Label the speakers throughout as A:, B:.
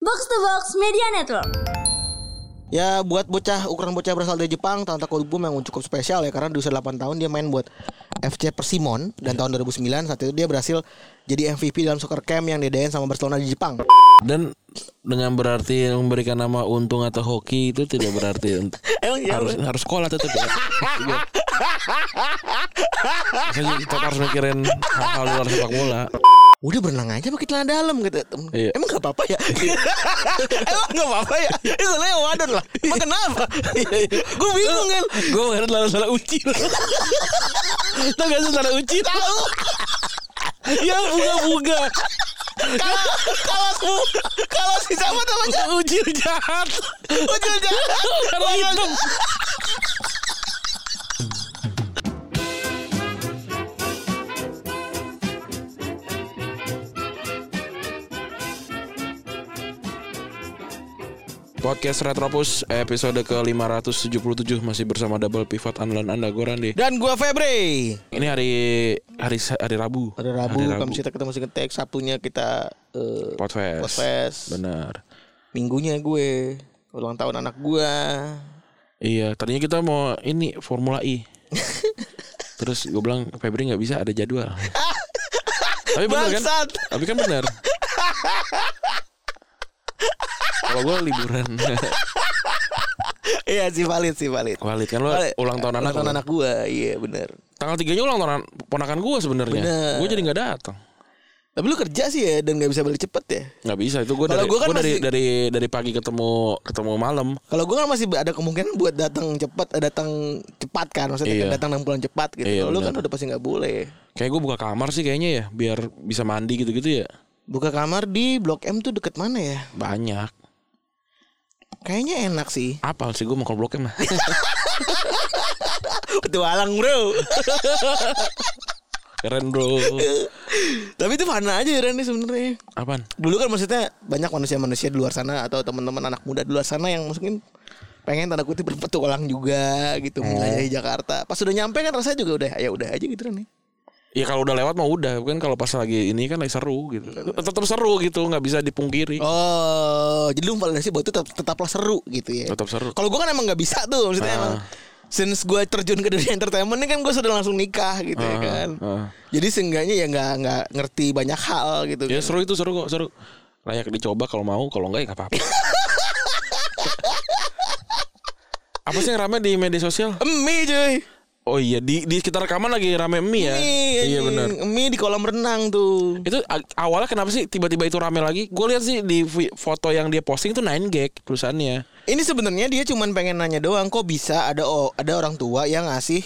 A: Box to Box Media Network.
B: Ya buat bocah ukuran bocah berasal dari Jepang Tanto Kolbu memang cukup spesial ya Karena di usia 8 tahun dia main buat FC Persimon Dan tahun 2009 saat itu dia berhasil jadi MVP dalam soccer camp yang diadain sama Barcelona di Jepang
C: Dan dengan berarti memberikan nama untung atau hoki itu tidak berarti untuk-
B: Emang iya,
C: harus harus sekolah tetap ya. Iya. Maksudnya kita harus mikirin hal-hal luar sepak bola.
B: Udah berenang aja pakai celana dalam gitu
C: Iya.
B: Emang gak apa-apa ya Emang gak apa-apa ya Itu sebenarnya wadon lah Emang kenapa
C: Iya,
B: Gue bingung kan
C: Gue kemarin lalu salah uci. Tahu gak sih salah uci?
B: Tahu
C: Ya bunga-bunga.
B: Kalau Kalau si- Kalau si siapa namanya
C: Uci jahat.
B: Ujul jahat Iya,
C: Karena hitam. Podcast Retropus episode ke-577 masih bersama double pivot andalan Anda gue Randi.
B: Dan gue Febri
C: Ini hari hari hari Rabu.
B: Hari Rabu, Kamis kita ketemu sih ngetek Sabtunya kita eh,
C: Podcast.
B: podcast.
C: Benar.
B: Minggunya gue ulang tahun anak gue.
C: Iya, tadinya kita mau ini Formula E. Terus gue bilang Febri nggak bisa ada jadwal. Tapi bener kan?
B: Bangsat.
C: Tapi kan bener. Kalau gue liburan
B: Iya sih valid sih valid.
C: kualit kan lo
B: Valid.
C: ulang tahun anak.
B: ulang tahun
C: lo.
B: anak gue, iya bener.
C: Tanggal tiganya ulang tahun an- ponakan gue sebenarnya.
B: Bener.
C: Gue jadi nggak datang.
B: Tapi lu kerja sih ya dan gak bisa balik cepet ya.
C: Nggak bisa itu gue
B: Kalau
C: dari
B: gua kan
C: gua dari,
B: masih-
C: dari dari pagi ketemu ketemu malam.
B: Kalau gue kan masih ada kemungkinan buat datang cepat, eh, datang cepat kan, maksudnya
C: Iya.
B: kan datang dan pulang cepat gitu.
C: Iya,
B: Kalau lu kan
C: bener.
B: udah pasti nggak boleh.
C: Kayak gue buka kamar sih kayaknya ya biar bisa mandi gitu-gitu ya.
B: Buka kamar di Blok M tuh deket mana ya?
C: Banyak.
B: Kayaknya enak sih.
C: Apa sih gue mau ke blok M?
B: Petualang bro.
C: Keren bro.
B: Tapi itu fana aja Ren sebenarnya.
C: Apaan?
B: dulu kan maksudnya banyak manusia-manusia di luar sana atau teman-teman anak muda di luar sana yang mungkin pengen tanda kutip berpetualang juga
C: Eh.
B: gitu menjelajahi Jakarta. Pas udah nyampe kan rasanya juga udah ya udah aja gitu nih.
C: Ya kalau udah lewat mah udah kan kalau pas lagi ini kan lagi seru gitu. Tetap seru gitu, nggak bisa dipungkiri.
B: Oh, jadi lu validasi buat itu tetap, tetaplah seru gitu ya.
C: Tetap seru.
B: Kalau gua kan emang nggak bisa tuh maksudnya
C: Ah.
B: emang since gue terjun ke dunia entertainment ini kan gue sudah langsung nikah gitu ya
C: Ah,
B: kan.
C: ah.
B: Jadi seenggaknya ya nggak nggak ngerti banyak hal gitu.
C: Ya
B: kan.
C: seru itu seru kok, seru. Layak dicoba kalau mau, kalau enggak ya nggak apa-apa. Apa sih yang rame di media sosial?
B: Emi kan. cuy.
C: Oh iya, di di sekitar rekaman lagi rame mie ya.
B: Emi,
C: iya benar.
B: Emi di kolam renang tuh.
C: Itu a- awalnya kenapa sih tiba-tiba itu rame lagi? Gue lihat sih di vi- foto yang dia posting tuh 9 gag tulisannya.
B: Ini sebenarnya dia cuman pengen nanya doang kok bisa ada o- ada orang tua yang ngasih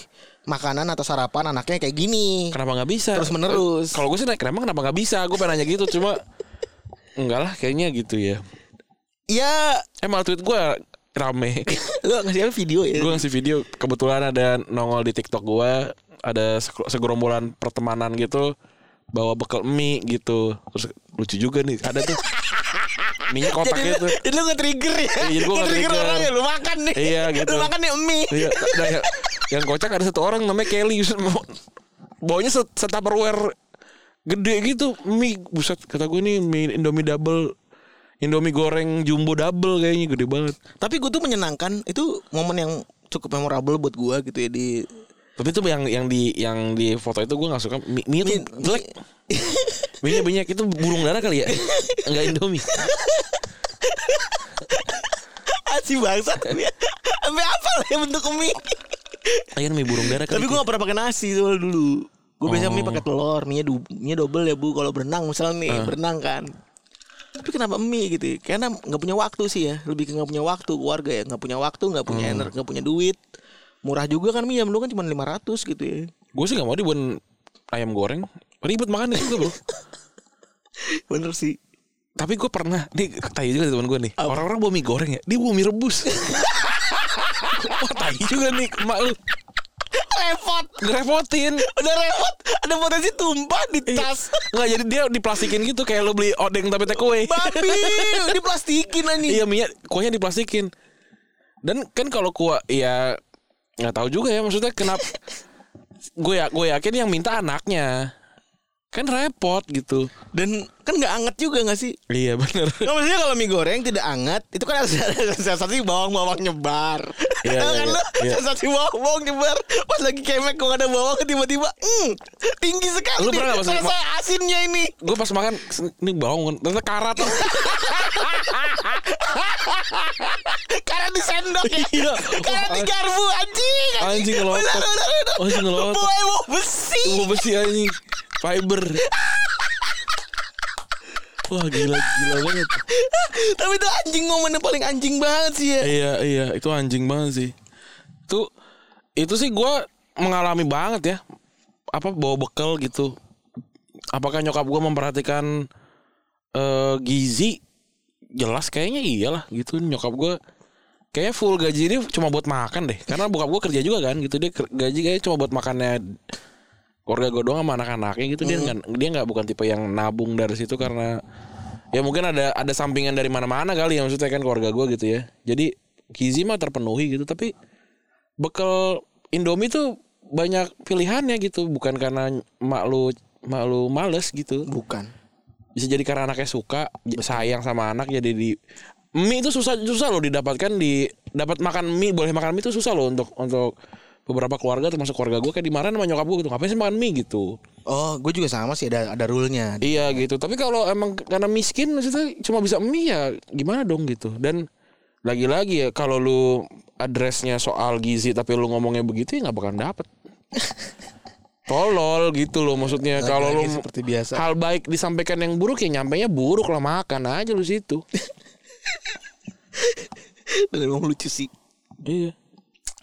B: makanan atau sarapan anaknya kayak gini.
C: Kenapa nggak bisa?
B: Terus menerus.
C: Kalau gue sih nanya, kenapa kenapa nggak bisa? Gue pengen nanya gitu, cuma enggak lah kayaknya gitu ya.
B: Ya
C: Emang tweet gue rame
B: lu ngasih apa video ya.
C: Gue ngasih video Kebetulan ada nongol di tiktok gue Ada se- segerombolan pertemanan gitu Bawa bekal mie gitu Terus lucu juga nih Ada tuh Mie kotak
B: Jadi
C: gitu
B: lu, jadi lu nge-trigger ya.
C: Iya, jadi gua
B: Nge-trigger
C: nge-trigger.
B: orang ya lu makan nih.
C: Iya, gitu.
B: Lu makan nih mie.
C: Iya dan yang- Yang kocak ada satu orang namanya Kelly Bawanya set- setupperware Gede gitu Mie Buset kata gue nih Mie Indomie double Indomie goreng jumbo double kayaknya Gede banget
B: Tapi gue tuh menyenangkan itu momen yang cukup memorable buat gua gitu ya di
C: Tapi itu yang yang di yang di foto itu gue gak suka mie, mie itu
B: Mie-
C: jelek. Mie banyak itu burung dara kali ya. Enggak Indomie.
B: Aci bangsat ini. Sampai apa lah ya bentuk mie.
C: Kayaknya mie burung dara kali.
B: Tapi gua gak pernah pakai nasi soal dulu. Gue biasanya mie pakai telur, mie du- mie double ya bu. Kalau berenang misalnya nih berenang kan. Tapi kenapa mie gitu? ya? Karena nggak punya waktu sih ya. Lebih ke nggak punya waktu keluarga ya. Nggak punya waktu, nggak punya ener, nggak punya duit. Murah juga kan mie ya dulu kan cuma 500 gitu ya.
C: Gue sih gak mau dibuat ayam goreng. Ribet makannya juga bro.
B: Bener sih.
C: Tapi gue pernah Nih tai juga teman gue nih Orang-orang bawa mie goreng ya Dia bawa mie rebus Wah tai juga nih Emak lu
B: Repot.
C: Ngerepotin Iya.
B: Udah repot. Ada potensi tumpah di tas.
C: Nggak jadi dia diplastikin gitu Kayak lu beli odeng tapi take away
B: Babi, diplastikin anjing.
C: Iya minyak kuahnya diplastikin. Dan kan kalau kuah ya nggak tahu juga ya maksudnya kenapa gue ya gue yakin yang minta anaknya Kan repot gitu.
B: Dan kan nggak anget juga nggak sih?
C: Iya bener.
B: Nggak, maksudnya kalau mie goreng tidak anget itu kan harus ada sensasi bawang-bawang nyebar.
C: Iya,
B: Tahu
C: iya,
B: kan
C: iya,
B: lo
C: iya.
B: sensasi bawang-bawang nyebar pas lagi kemek kok ada bawang tiba-tiba hmm, tinggi sekali.
C: Lu pernah nggak pas-
B: rasa asinnya ini?
C: Gue pas makan ini bawang kan, ternyata karat.
B: Karena di sendok ya.
C: Iya.
B: Karena di garpu anjing.
C: Anjing ngelotok.
B: Benar, benar, benar.
C: Anjing ngelotok.
B: Boy mau besi.
C: Gue besi anjing fiber. Wah gila gila banget.
B: Tapi itu anjing momennya paling anjing banget sih ya.
C: Iya iya itu anjing banget sih. Itu itu sih gua mengalami banget ya apa bawa bekal gitu. Apakah nyokap gua memperhatikan eh, gizi? Jelas kayaknya iyalah gitu nyokap gua kayaknya full gaji ini cuma buat makan deh. Karena bokap gua kerja juga kan gitu dia ker- gaji kayaknya cuma buat makannya keluarga gue doang sama anak-anaknya gitu dia nggak dia nggak bukan tipe yang nabung dari situ karena ya mungkin ada ada sampingan dari mana-mana kali ya maksudnya kan keluarga gue gitu ya jadi gizi mah terpenuhi gitu tapi bekal Indomie tuh banyak pilihannya gitu bukan karena mak lu mak lu males gitu
B: Bukan.
C: bisa jadi karena anaknya suka j- sayang sama anak jadi di mie itu susah susah loh didapatkan di dapat makan mie boleh makan mie itu susah loh untuk untuk beberapa keluarga termasuk keluarga gue kayak dimarahin sama nyokap gue gitu ngapain sih makan mie gitu
B: Oh, gue juga sama sih ada ada rule-nya.
C: Iya gitu. Tapi kalau emang karena miskin maksudnya cuma bisa mie ya gimana dong gitu. Dan lagi-lagi ya kalau lu addressnya soal gizi tapi lu ngomongnya begitu ya nggak bakal dapet. Tolol gitu loh maksudnya kalau lu
B: Lagi-lagi seperti biasa.
C: hal baik disampaikan yang buruk ya nyampainya buruk lah makan aja lu situ.
B: Dan emang lucu sih.
C: iya.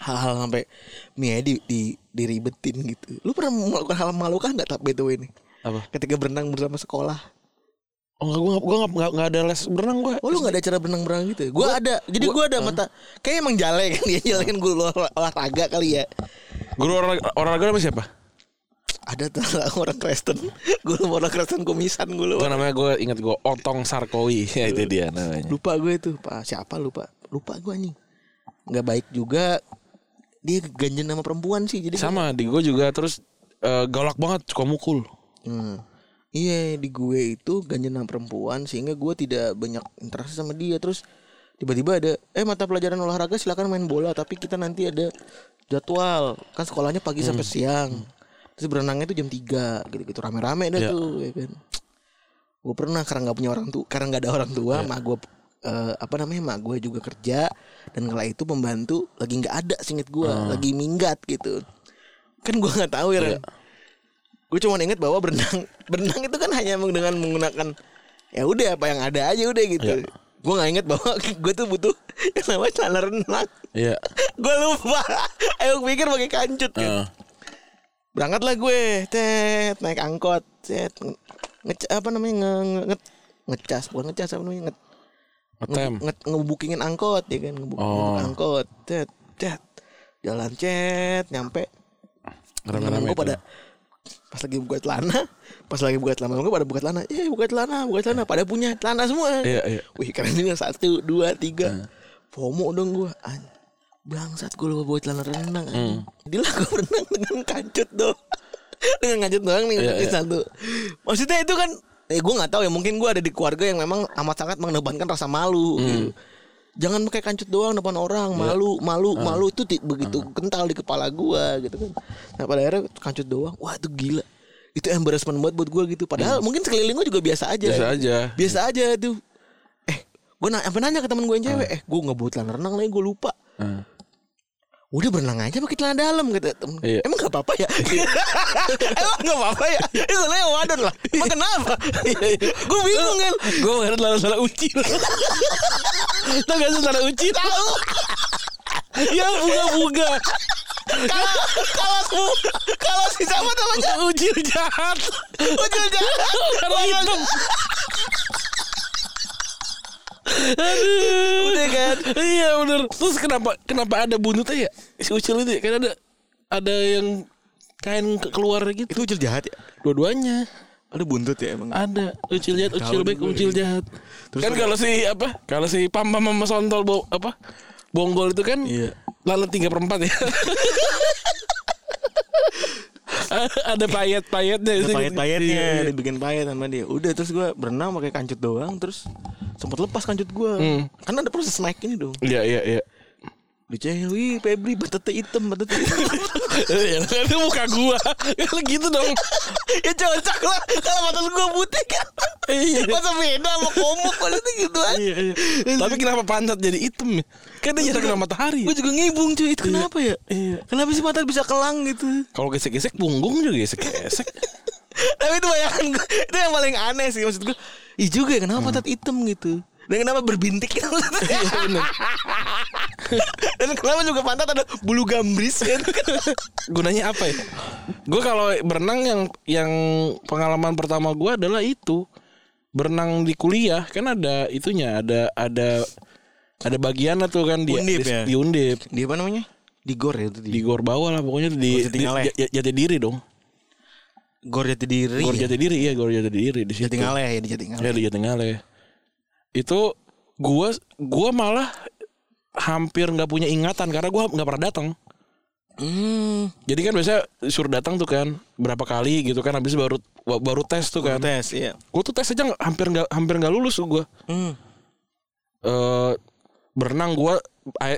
B: hal-hal sampai mie di, di diribetin gitu. Lu pernah melakukan hal memalukan nggak tak BTW ini?
C: Apa?
B: Ketika berenang bersama sekolah.
C: Oh enggak gua gua enggak, enggak, ada les berenang gua.
B: Oh lu nggak ada acara berenang-berenang gitu? ya? Gua ada. Jadi gua, ada mata. Kayaknya emang jale kan dia jale kan gua olah- olahraga kali ya.
C: Guru olahraga, olahraga sama siapa?
B: Ada tuh orang Kristen. Gua lupa orang Kristen komisan gua lupa.
C: Gua namanya gua inget gua Otong Sarkowi. ya itu dia namanya.
B: Lupa gue itu. Pak siapa lupa? Lupa gua anjing. Nggak baik juga. Dia ganjen sama perempuan sih. Jadi
C: Sama di gua juga terus eh, galak banget suka mukul.
B: Hmm. Iya di gue itu ganjen sama perempuan sehingga gue tidak banyak interaksi sama dia terus tiba-tiba ada eh mata pelajaran olahraga silakan main bola tapi kita nanti ada jadwal kan sekolahnya pagi sampai siang terus berenangnya itu jam 3 gitu gitu rame-rame dah
C: Iya.
B: tuh ya kan gue pernah karena nggak punya orang tua karena nggak ada orang tua mak gue eh, apa namanya mak gue juga kerja dan kala itu pembantu lagi nggak ada singkat gue lagi minggat gitu kan gue nggak tahu Ah. ya Ren. gue cuma inget bahwa berenang berenang itu kan hanya dengan menggunakan ya udah apa yang ada aja udah gitu
C: Ya.
B: gue nggak inget bahwa gue tuh butuh yang namanya celana renang
C: Iya.
B: gue lupa ayo pikir pakai kancut kan
C: Heeh.
B: berangkatlah gue tet naik angkot tet nge apa namanya nge, nge- nge- ngecas bukan ngecas apa namanya nge,
C: Ngetem.
B: nge, nge- ngebukingin angkot ya kan ngebuk, ngebuk
C: Oh.
B: angkot tet tet jalan cet nyampe temen
C: Rame-rame
B: gue pada pas lagi buka celana pas lagi buka celana gue pada buka celana eh buka celana buka celana pada punya celana semua
C: Iya, iya.
B: wih keren juga satu dua tiga FOMO dong gue An- bangsat gue lupa bawa celana renang anjing. jadilah gue berenang dengan kancut dong dengan kancut doang nih kaki satu maksudnya itu kan eh gue nggak tahu ya mungkin gue ada di keluarga yang memang amat sangat mengedepankan rasa malu gitu. Jangan pakai kancut doang depan orang, malu, malu, malu itu ti- begitu kental di kepala gua gitu kan. Nah, pada akhirnya kancut doang, wah itu gila. Itu embarrassment banget buat gua gitu. Padahal mungkin sekeliling gua juga biasa aja.
C: Biasa aja.
B: Ya, Biasa aja tuh. Eh, gua na- apa nanya ke temen gua yang cewek,
C: Ah.
B: eh gua nggak bawa celana renang lagi, gua lupa.
C: Heeh.
B: Udah berenang aja pakai celana dalam kata temen.
C: Iya.
B: Emang gak apa-apa ya? Emang gak apa-apa ya?
C: Iya.
B: Itu celana wadon lah. Emang kenapa? Gue bingung kan.
C: Gue kemarin lalu salah ucil. Tahu gak sih salah ucil?
B: Tahu
C: Ya bunga-bunga.
B: kalau kalau semua kalau si siapa namanya?
C: Ucil jahat.
B: Ujul jalan.
C: Karena hitam. Aduh.
B: Udah kan?
C: Iya bener. Terus kenapa kenapa ada buntutnya ya? Si ucil itu ya? Kan ada ada yang kain ke- keluar gitu.
B: Itu ujul jahat ya?
C: Dua-duanya.
B: Ada buntut ya emang.
C: Ada ucil jahat, ucil
B: Tahu
C: baik,
B: juga
C: ucil
B: ini.
C: jahat.
B: Terus
C: kan
B: ada-
C: kalau si apa? Kalau si pam pam pam sontol bo, apa? Bonggol itu kan
B: Iya.
C: lalat tiga perempat ya. ada payet-payetnya.
B: Ada payet-payetnya dibikin payet sama dia udah terus gue berenang pakai kancut doang terus sempat lepas kancut gue karena ada proses naik ini dong
C: Iya, iya, iya.
B: dicengin wih Febri batetnya hitam batetnya hitam."
C: Iya, Itu muka gua. Kalau gitu dong.
B: ya cocok lah kalau batas gue putih kan
C: Iya.
B: masa beda sama komuk kalau itu gitu aja
C: Iya, iya. Tapi kenapa pantat jadi hitam ya? Kan dia jarang kena matahari.
B: gue juga ngibung cuy itu kenapa ya
C: Iya.
B: kenapa sih mata bisa kelang gitu
C: Kalau gesek-gesek punggung juga gesek-gesek.
B: tapi itu bayangan gue itu yang paling aneh sih maksud gue Ih juga ya kenapa pantat hitam gitu dan kenapa berbintik kan maksudnya. dan kenapa juga pantat ada bulu gambris kan
C: Gunanya apa ya? Gue kalau berenang yang yang pengalaman pertama gua adalah itu berenang di kuliah kan ada itunya ada ada ada bagian tuh kan di
B: Undip
C: di,
B: ya?
C: diundip.
B: dia apa namanya di gor ya itu di,
C: di gor bawah lah pokoknya di,
B: Gor
C: di
B: Jatingale.
C: Ja- Ja- jati diri dong
B: gor jati diri
C: gor
B: ya?
C: jati diri iya gor jati diri di situ
B: jati ngale ya di jati ngale
C: ya di Jatingale itu gua gua malah hampir nggak punya ingatan karena gua nggak pernah datang
B: hmm,
C: jadi kan biasanya suruh datang tuh kan berapa kali gitu kan habis baru baru tes tuh kan
B: tes iya
C: gua tuh tes aja nggak- hampir nggak hampir nggak lulus tuh gua
B: hmm.
C: eh berenang gua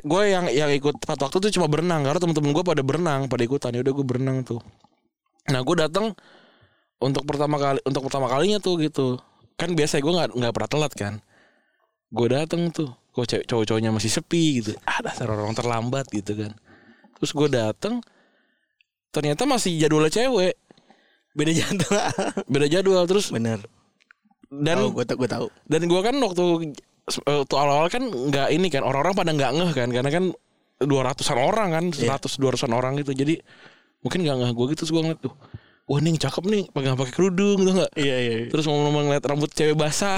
C: gue yang yang ikut tepat waktu tuh cuma berenang karena temen-temen gue pada berenang pada ikutan ya udah gue berenang tuh nah gue datang untuk pertama kali untuk pertama kalinya tuh gitu kan biasa gue nggak nggak pernah telat kan gue datang tuh kok cewek- cowok-cowoknya masih sepi gitu ah dasar orang terlambat gitu kan terus gue datang ternyata masih jadwalnya cewek
B: beda jantung
C: beda jadwal terus
B: bener
C: dan
B: tahu gue tau gue tau
C: dan gua kan waktu waktu awal-awal kan nggak ini kan orang-orang pada nggak ngeh kan karena kan 200-an orang kan
B: Iya.
C: 100 200-an orang gitu jadi mungkin nggak ngeh gua gitu terus gua ngeliat tuh wah nih yang cakep nih pakai nggak pakai kerudung gitu nggak
B: iya iya
C: terus mau ngomong ngeliat rambut cewek basah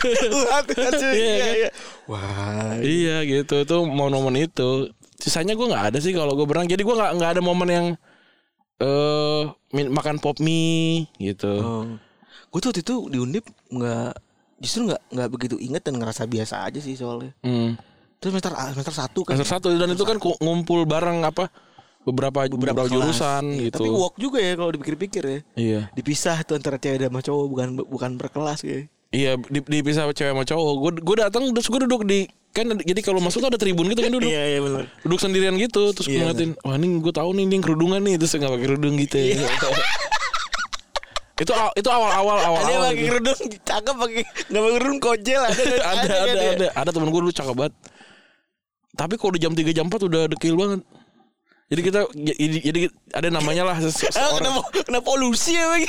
C: Iya,
B: iya
C: kan?
B: iya wah
C: iya gitu itu momen-momen itu sisanya gua nggak ada sih kalau gua berenang jadi gua nggak nggak ada momen yang eh min- makan pop mie gitu
B: Oh. Gue tuh waktu itu di Undip nggak justru nggak nggak begitu inget dan ngerasa biasa aja sih soalnya.
C: Hmm.
B: Terus semester ah, semester satu kan.
C: Semester satu dan itu kan ku- ngumpul bareng apa beberapa beberapa,
B: kelas.
C: jurusan
B: Iya,
C: gitu.
B: Tapi walk juga ya kalau dipikir-pikir ya.
C: Iya.
B: Dipisah tuh antara cewek dan sama cowok bukan bukan berkelas ya.
C: Iya, di- dipisah cewek sama cowok. Gue gue datang terus gue duduk di kan ada- jadi kalau masuk tuh ada tribun gitu kan duduk.
B: iya benar.
C: Duduk sendirian gitu terus
B: Iya,
C: gua ngeliatin, wah ini gue tahu nih ini yang kerudungan nih terus nggak pakai kerudung gitu.
B: Iya.
C: ya. itu aw- itu awal-awal Oh, awal. gitu.
B: Ada yang pakai kerudung cakep pakai nggak pakai kerudung kojel ada
C: ada ada
B: kan
C: ada
B: ya?
C: ada, temen gue dulu cakep banget tapi kalau udah jam 3 jam 4 udah dekil banget jadi kita jadi, jadi ada namanya lah se- se-
B: Ah,
C: seorang-
B: kenapa kenapa polusi ya Bang?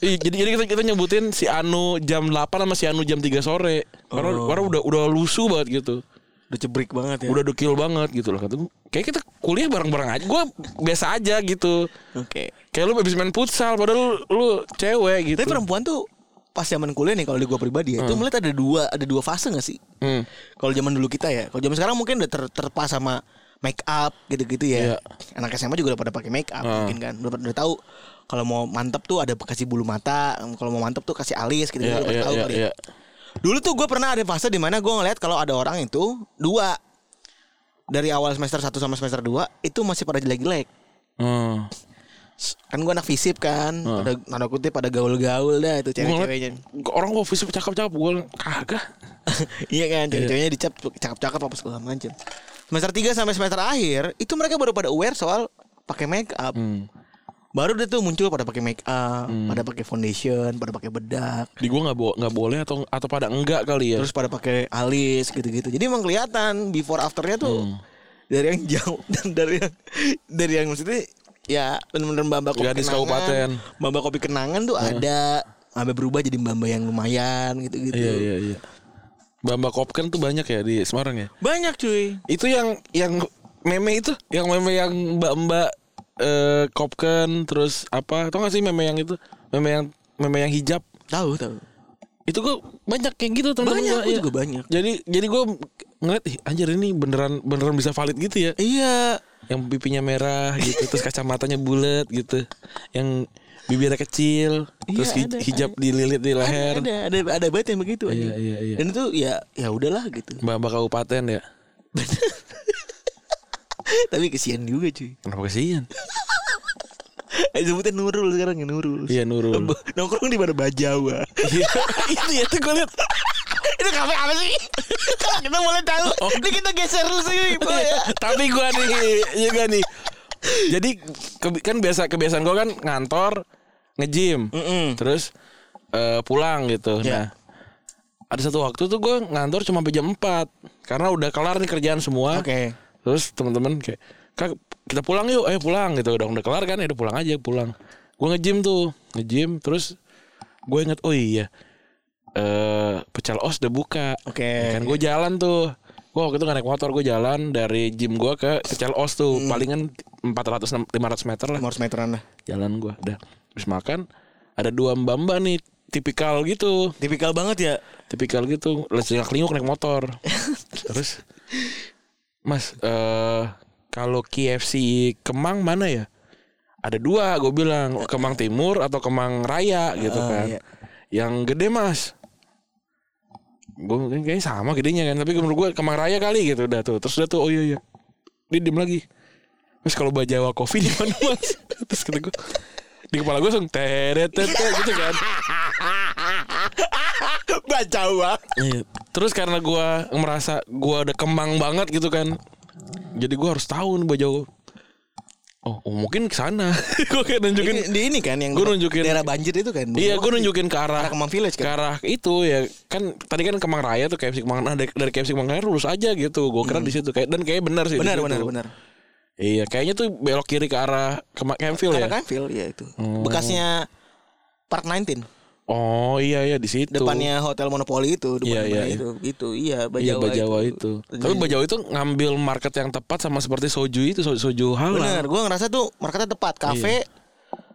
C: Iya, jadi jadi kita kita nyebutin si Anu jam 8 sama si Anu jam 3 sore. Karena
B: Oh.
C: karena udah udah lusuh banget gitu.
B: Udah cebrik banget ya.
C: Udah dekil banget gitu loh kata gua, Kayak kita kuliah bareng-bareng aja. Gua biasa aja gitu.
B: Oke.
C: Kayak lu habis main futsal padahal lu, lu cewek gitu.
B: Tapi perempuan tuh pas zaman kuliah nih kalau di gua pribadi ya, itu melihat ada dua ada dua fase nggak sih?
C: Hmm.
B: Kalau zaman dulu kita ya, kalau zaman sekarang mungkin udah ter terpas sama make up gitu-gitu ya.
C: Iya. Ah.
B: Anak SMA juga udah pada pakai make up mungkin kan. Udah, udah tahu kalau mau mantep tuh ada kasih bulu mata, kalau mau mantep tuh kasih alis gitu
C: Iya,
B: udah pada
C: iya,
B: tahu
C: iya,
B: kali ya.
C: iya.
B: Dulu tuh gue pernah ada fase di mana gue ngeliat kalau ada orang itu dua dari awal semester 1 sama semester 2 itu masih pada jelek-jelek.
C: Hmm.
B: Kan gue anak fisip kan, pada tanda kutip pada gaul-gaul dah itu
C: Ah. Gua ngeliat,
B: cewek-ceweknya.
C: orang kok fisik cakep-cakep gua kagak.
B: iya kan cewek-ceweknya dicap cakep-cakep apa segala macam semester 3 sampai semester akhir itu mereka baru pada aware soal pakai make up
C: Hmm.
B: baru dia tuh muncul pada pakai make up pada pakai foundation pada pakai bedak
C: Di gua nggak bo- nggak boleh atau atau pada enggak kali ya.
B: terus pada pakai alis gitu-gitu jadi emang kelihatan before afternya tuh
C: Hmm.
B: dari yang jauh dan dari yang dari yang maksudnya ya bener-bener mbak kopi kenangan,
C: Gadis Iya, kabupaten. Iya.
B: mbak kopi kenangan tuh ada sampai berubah jadi mbak yang lumayan gitu-gitu
C: Iya iya iya. Bamba Kopken tuh banyak ya di Semarang ya.
B: banyak cuy
C: Itu yang yang meme itu, yang meme yang mbak-mbak eh kopken terus apa? Tau gak sih meme yang itu? Meme yang meme yang hijab.
B: tahu tahu
C: Itu gue banyak kayak gitu teman-teman.
B: banyak
C: gua,
B: gue
C: iya.
B: juga banyak
C: Jadi jadi gue ngeliat Ih, anjir ini beneran beneran bisa valid gitu ya.
B: Iya,
C: Yang pipinya merah gitu, terus kacamatanya bulat gitu. Yang bibirnya kecil, terus
B: Iya,
C: hij-
B: ada,
C: hijab dililit di leher.
B: ada ada ada banget yang begitu.
C: Iya,
B: anjing.
C: iya, iya.
B: Dan itu ya ya udahlah gitu.
C: Mbak-mbak kabupaten ya.
B: Tapi kesian juga cuy.
C: Kenapa kesian?
B: Eh, Sebutnya Nurul sekarang ya Nurul.
C: Iya, Nurul.
B: Ab- Nongkrong di mana Bajawa.
C: itu ya tuh gue liat
B: Itu kafe apa sih? Kalau kita boleh tahu. Ini kita geser dulu sih. Boy, ya.
C: tapi gue nih juga nih jadi ke- kan biasa kebiasaan gue kan ngantor ngejim
B: Mm-mm.
C: terus eh, pulang gitu nah
B: Hmm. Ya.
C: ada satu waktu tuh gue ngantor cuma sampai jam 4 karena udah kelar nih kerjaan semua
B: Oke.
C: terus teman-teman kayak kak kita pulang yuk ayo pulang gitu udah udah kelar kan ya udah pulang aja pulang gue ngejim tuh ngejim terus gue inget oh iya eh pecel os udah buka
B: Oke.
C: Ya kan gue jalan tuh gue waktu itu gak naik motor gue jalan dari gym gue ke pecel os tuh
B: Hmm.
C: palingan 400 500 meter lah
B: Nomor meteran lah.
C: jalan gue udah terus makan ada dua mbak mbak nih tipikal gitu
B: Tipikal banget ya.
C: tipikal gitu lengak linguk naik motor terus mas eh kalau KFC Kemang mana ya ada dua gue bilang Kemang Timur atau Kemang Raya gitu
B: Ah,
C: kan
B: iya.
C: yang gede mas gue kayaknya sama gedenya kan tapi menurut gue Kemang Raya kali gitu udah tuh terus udah tuh oh iya iya dia diem lagi Mas kalau Bajawa Coffee di mana mas? Terus kata gue di kepala gue langsung teret teret teret gitu kan.
B: Bajawa.
C: Iya. Terus karena gua merasa gua udah kembang banget gitu kan. Jadi gua harus tahu nih Bajawa. Oh, oh, mungkin ke sana. gua kayak
B: Ini-
C: nunjukin
B: Di ini kan yang
C: Gua nunjukin.
B: daerah banjir itu kan.
C: Iya, gue nunjukin ke arah
B: Arah Kemang Village
C: ke
B: kan?
C: arah itu ya kan tadi kan Kemang Raya tuh KFC Kemang nah dari, dari KFC Kemang Raya lurus aja gitu. Gua kira di situ kayak dan kayaknya benar
B: Hmm.
C: sih. di
B: Benar
C: situ.
B: benar benar.
C: Iya, kayaknya tuh belok kiri ke arah Kemang Kemfil ya.
B: Karena Canfield ya itu. Bekasnya Park 19
C: Oh iya iya di situ.
B: depannya hotel Monopoli itu depan
C: Iya, iya, iya.
B: itu itu iya
C: Iya
B: Bajawa,
C: Bajawa itu. Tapi Bajawa itu ngambil market yang tepat sama seperti soju itu so- soju halal.
B: Bener, gue ngerasa tuh marketnya tepat, kafe,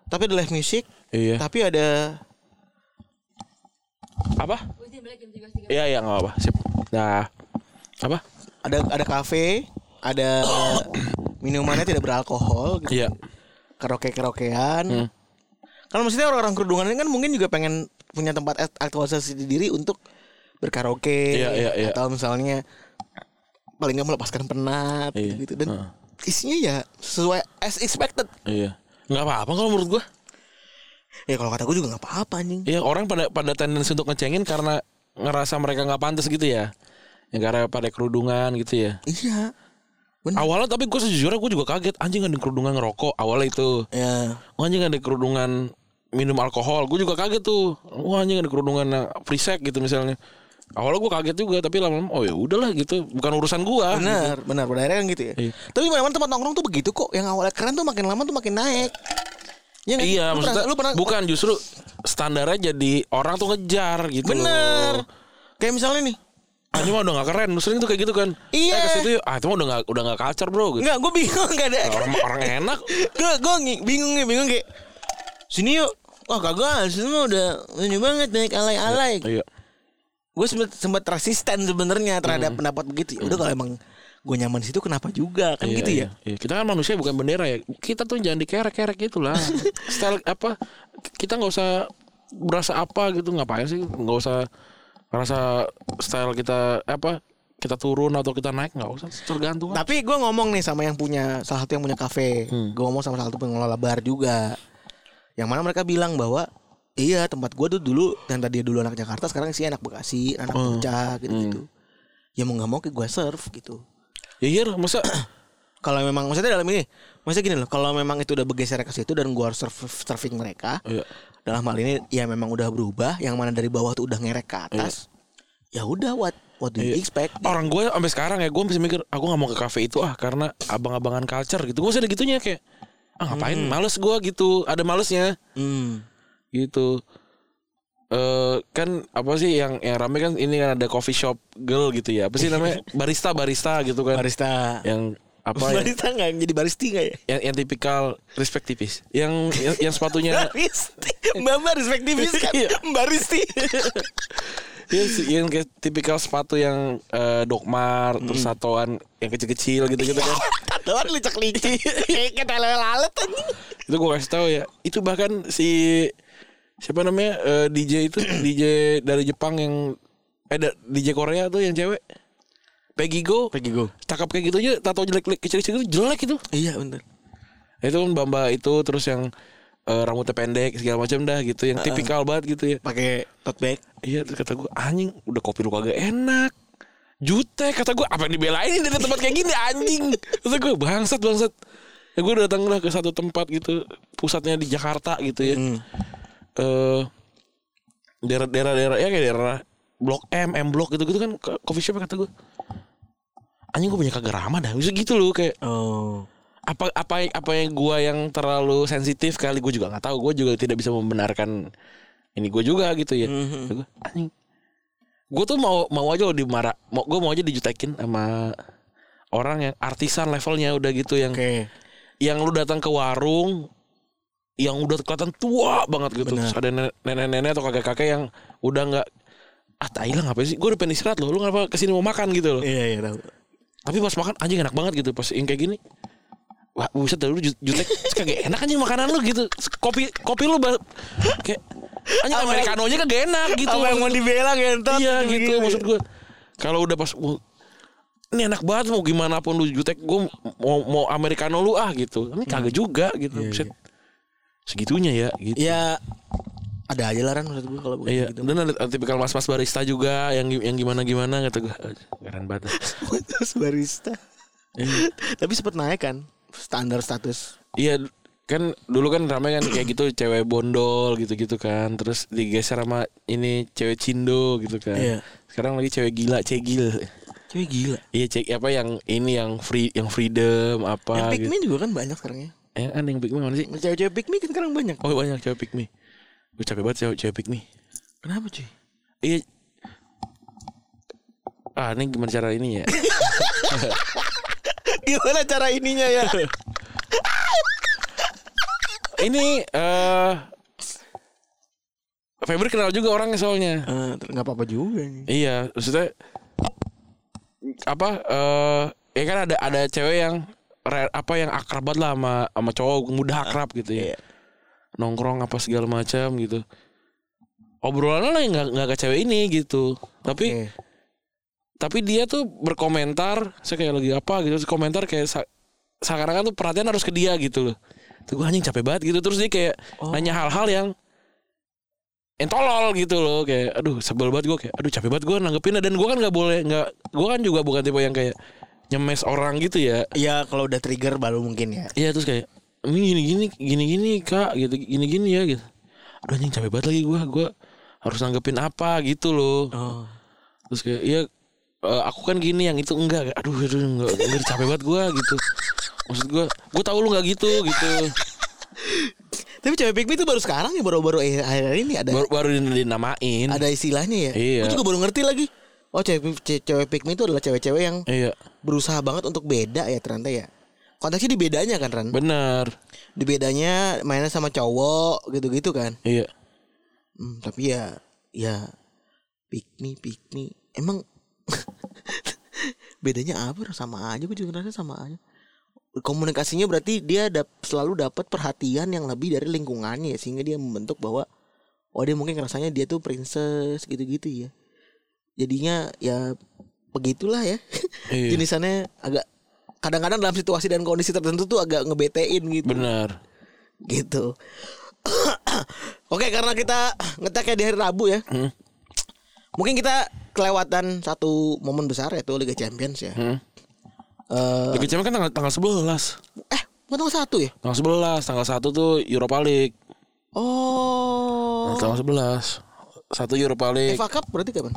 B: tapi ada live music,
C: Iya.
B: tapi ada
C: Apa? Iya iya nggak apa-apa. Sip. Nah apa?
B: ada ada kafe, ada eh, minumannya tidak beralkohol, gitu.
C: Iya.
B: karaoke karaokean. Kalau maksudnya orang-orang kerudungan ini kan mungkin juga pengen punya tempat at- aktualisasi diri untuk berkaraoke
C: Iya, iya, iya.
B: atau misalnya paling nggak melepaskan penat
C: Iya.
B: gitu dan isinya ya sesuai as expected.
C: Iya. Nggak apa-apa kalau menurut gua.
B: Ya kalau kata gue juga nggak apa-apa anjing.
C: Iya orang pada pada tendensi untuk ngecengin karena ngerasa mereka nggak pantas gitu ya. Ya karena pada kerudungan gitu ya.
B: Iya. Bener.
C: Awalnya tapi gue sejujurnya gue juga kaget anjing ada kerudungan ngerokok awalnya itu.
B: Ya.
C: Wah anjing ada kerudungan minum alkohol. Gue juga kaget tuh. Wah anjing ada kerudungan yang free sex gitu misalnya. Awalnya gue kaget juga tapi lama-lama oh ya udahlah gitu. Bukan urusan gua.
B: Benar, benar, benar kan gitu ya.
C: Iya.
B: Tapi mana-mana tempat nongkrong tuh begitu kok. Yang awalnya keren tuh makin lama tuh makin naik. Ya nggak sih?
C: Iya,
B: Lu
C: maksudnya
B: pernah- lu pernah
C: bukan justru standarnya jadi orang tuh ngejar gitu.
B: bener. Kayak misalnya nih,
C: Ah, ini mah udah gak keren. Sering tuh kayak gitu kan.
B: Iya.
C: Eh, ke situ yuk. Ah, itu mah udah gak udah gak culture, Bro. Gitu.
B: enggak gue bingung enggak ada.
C: Orang orang enak.
B: Gue gue ngi- bingung nih, bingung kayak sini yuk. Wah kagak, sini mah udah ini banget naik alay-alay.
C: Iya.
B: Gue sempet, sempet resisten sebenarnya terhadap pendapat begitu. Ya udah kalau emang gue nyaman di situ kenapa juga kan
C: Iya,
B: gitu
C: iya,
B: ya.
C: iya. Kita kan manusia bukan bendera ya. Kita tuh jangan dikerek-kerek gitu lah. Style apa? Kita nggak usah berasa apa gitu ngapain sih? Nggak usah merasa style kita apa? Kita turun atau kita naik nggak usah tergantung.
B: Tapi gue ngomong nih sama yang punya salah satu yang punya kafe. Gue ngomong sama salah satu pengelola bar juga. Yang mana mereka bilang bahwa iya tempat gue tuh dulu yang tadi dulu anak Jakarta sekarang sih anak Bekasi, anak Puncak
C: gitu.
B: gitu-gitu.
C: Hmm.
B: Ya mau nggak mau gue serve gitu.
C: Ya iya, masa
B: Kalau memang maksudnya dalam ini, maksudnya gini loh, kalau memang itu udah bergeser ke situ dan gue harus serve, serving mereka.
C: Iya.
B: Dalam hal ini ya memang udah berubah, yang mana dari bawah tuh udah ngerek ke atas. Ya udah what what do you expect?
C: orang gue sampai sekarang ya gue masih mikir aku nggak mau ke kafe itu ah karena abang-abangan culture gitu. Gue ada gitunya kayak ah ngapain? Males gue gitu. Ada malesnya.
B: Hmm.
C: gitu eh kan apa sih yang yang rame kan ini kan ada coffee shop girl gitu ya apa sih namanya barista barista gitu kan
B: Barista.
C: yang apa yang,
B: barista nggak jadi baristi nggak ya?
C: yang, yang tipikal respect tipis yang yang, yang sepatunya
B: Baristi. Mbak Mbak respektivis kan.
C: Iya.
B: Baristi.
C: yang, yang kayak tipikal sepatu yang eh, dokmar terus satuan yang kecil-kecil gitu gitu kan
B: Tatoan licak licik. Kita lalat
C: itu gue kasih tahu ya itu bahkan si siapa namanya eh, DJ itu DJ dari Jepang yang eh da- DJ Korea tuh yang cewek Peggy Go
B: Peggy Go.
C: cakep kayak gitu aja tato jelek jelek kecil kecil gitu, itu jelek itu
B: Iya bener.
C: itu kan Bamba itu terus yang eh, rambutnya pendek segala macam dah gitu yang tipikal banget gitu ya
B: pakai tote bag
C: Iya terus kata gue anjing udah kopi lu kagak enak Jutek kata gue apa yang dibelain dari tempat kayak gini anjing Kata gue bangsat bangsat ya, Gue datang lah ke satu tempat gitu Pusatnya di Jakarta gitu
B: Iya.
C: ya
B: Hmm.
C: eh Daerah-daerah ya kayak daerah Blok M, M Blok gitu-gitu kan ke- Coffee shop kata gue Anjing gue punya kagak ramah dah Bisa gitu loh kayak
B: oh
C: apa apa apa yang gua yang terlalu sensitif kali gue juga nggak tahu gue juga tidak bisa membenarkan ini gue juga gitu
B: Iya.
C: ya gue anjing gue tuh mau mau aja lo dimarah mau gue mau aja dijutekin sama orang yang artisan levelnya udah gitu yang
B: oke
C: yang lu datang ke warung yang udah kelihatan tua banget gitu
B: Benar.
C: Terus ada nenek- nenek-nenek atau kakek-kakek yang udah nggak ah tai lah ngapain sih gue udah pengen istirahat loh lu ngapa kesini mau makan gitu loh
B: iya iya tahu
C: tapi pas makan anjing enak banget gitu pas yang kayak gini wah buset dah, lu ju- jutek Terus kagak enak anjing makanan lu gitu Terus kopi kopi lu ba- kayak anjing
B: Apa yang-
C: americano nya kagak enak gitu
B: apa yang mau ya, dibela gentot
C: iya gitu maksud gue kalau udah pas "Wah, ini enak banget mau gimana pun lu jutek gue mau mau americano lu ah gitu ini kagak juga gitu buset segitunya ya gitu
B: ya ada aja laran menurut gue kalau bukan
C: Iya,
B: gitu
C: dan ada tipikal mas-mas barista juga yang yang gimana gimana kata gue, keren banget.
B: terus barista Iya. tapi sempet naik kan standar status
C: Iya kan dulu kan ramai kan kayak gitu cewek bondol gitu-gitu kan terus digeser sama ini cewek cindo gitu kan
B: Iya.
C: sekarang lagi cewek gila cegil
B: cewek gila
C: iya cek apa yang ini yang free yang freedom
B: yang
C: apa gitu.
B: pikmin juga kan banyak sekarang ya
C: Eh, kan yang pygmy mana sih
B: cewek-cewek pikmin kan sekarang banyak
C: oh banyak cewek pygmy gue capek banget cewek cewek pygmy
B: kenapa cuy
C: iya ah ini gimana cara ini ya
B: gimana cara ininya ya
C: ini eh Febri kenal juga orangnya soalnya
B: Eh, ter- nggak apa-apa juga nih
C: Iya, maksudnya apa? eh ya kan ada ada cewek yang re- apa yang akrab banget lah sama sama cowok mudah akrab gitu ya.
B: Iya.
C: Nongkrong apa segala macam gitu. Obrolannya lah nggak nggak ke cewek ini gitu. Tapi
B: Oke.
C: tapi dia tuh berkomentar saya kayak lagi apa gitu terus komentar kayak sa- seakan-akan tuh perhatian harus ke dia gitu loh tuh gue anjing capek banget gitu terus dia kayak nanya hal-hal yang entolol gitu loh kayak aduh sebel banget gue kayak aduh capek banget gue nanggepinnya dan gue kan nggak boleh nggak gue kan juga bukan tipe yang kayak nyemes orang gitu ya
B: ya kalau udah trigger baru mungkin ya
C: Iya terus kayak ini gini gini gini gini kak gitu gini gini ya gitu. Aduh anjing capek banget lagi gua gua harus nanggepin apa gitu loh.
B: Oh.
C: Terus kayak iya eh, aku kan gini yang itu enggak aduh aduh enggak, enggak capek banget gua gitu. Maksud gua gua tahu lu enggak gitu gitu.
B: tapi cewek pikmin itu baru sekarang ya baru-baru eh, akhir ini ada
C: Baru baru dinamain.
B: ada istilahnya ya
C: Iya.
B: Gua juga baru ngerti lagi oh cewek ce- cewek pikmin itu adalah cewek-cewek yang
C: Iya,
B: berusaha banget untuk beda ya ternyata ya konteksnya dibedanya kan Ran
C: benar.
B: dibedanya mainnya sama cowok gitu-gitu kan
C: Iya.
B: Hmm, tapi ya ya pick me pick me. Emang bedanya apa? Sama aja gue juga ngerasa sama aja. Komunikasinya berarti dia dap- selalu dapat perhatian yang lebih dari lingkungannya ya, sehingga dia membentuk bahwa oh dia mungkin rasanya dia tuh princess gitu-gitu ya. Jadinya ya begitulah ya.
C: Iya.
B: Jenisannya agak kadang-kadang dalam situasi dan kondisi tertentu tuh agak ngebetein gitu
C: Benar.
B: gitu. Oke, karena kita ngeteknya di hari Rabu ya. Mungkin kita kelewatan satu momen besar yaitu Liga Champions ya.
C: Hmm.
B: Eh,
C: Liga Champions kan tanggal tanggal 11.
B: eh, bukan tanggal satu ya?
C: Tanggal 11, tanggal 1 tuh Europa League. Nah,
B: Oh,
C: Tanggal 11. Satu Europa League.
B: FA Cup berarti kapan?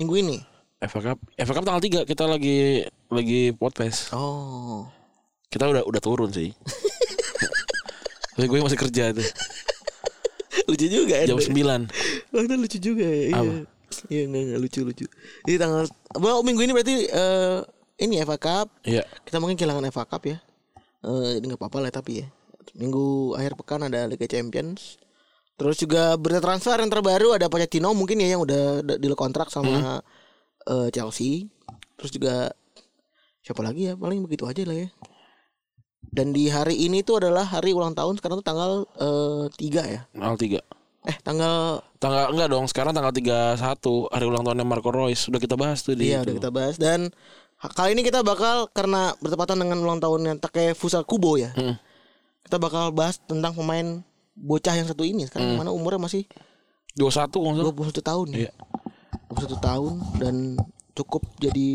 B: Minggu ini.
C: FA Cup, FA Cup tanggal 3 kita lagi lagi podcast.
B: Oh.
C: Kita udah udah turun sih. Tapi gue masih kerja itu
B: lucu juga ya.
C: jam 9.
B: Oh, itu lucu juga ya. Iya.
C: Apa?
B: Iya, enggak, enggak lucu lucu. Jadi tanggal well, minggu ini berarti eh, ini FA Cup.
C: Iya.
B: kita mungkin kehilangan FA Cup ya. Eh ini nggak apa-apa lah tapi ya. Minggu akhir pekan ada Liga Champions. Terus juga berita transfer yang terbaru ada Pochettino mungkin ya yang udah d- deal kontrak sama eh, Chelsea. Terus juga siapa lagi ya paling begitu aja lah ya. Dan di hari ini tuh adalah hari ulang tahun sekarang tuh tanggal eh, 3 ya.
C: Tanggal 3.
B: Eh tanggal
C: Tanggal enggak dong, sekarang tanggal 31 hari ulang tahunnya Marco Reus. Udah kita bahas tuh di
B: Iya udah
C: itu.
B: kita bahas dan ha- kali ini kita bakal karena bertepatan dengan ulang tahunnya Takefusa Kubo ya.
C: Mm.
B: Kita bakal bahas tentang pemain bocah yang satu ini sekarang mana umurnya masih
C: 21 kalau nggak salah.
B: 21 tahun ya.
C: Hmm. Iya.
B: 21 tahun dan cukup jadi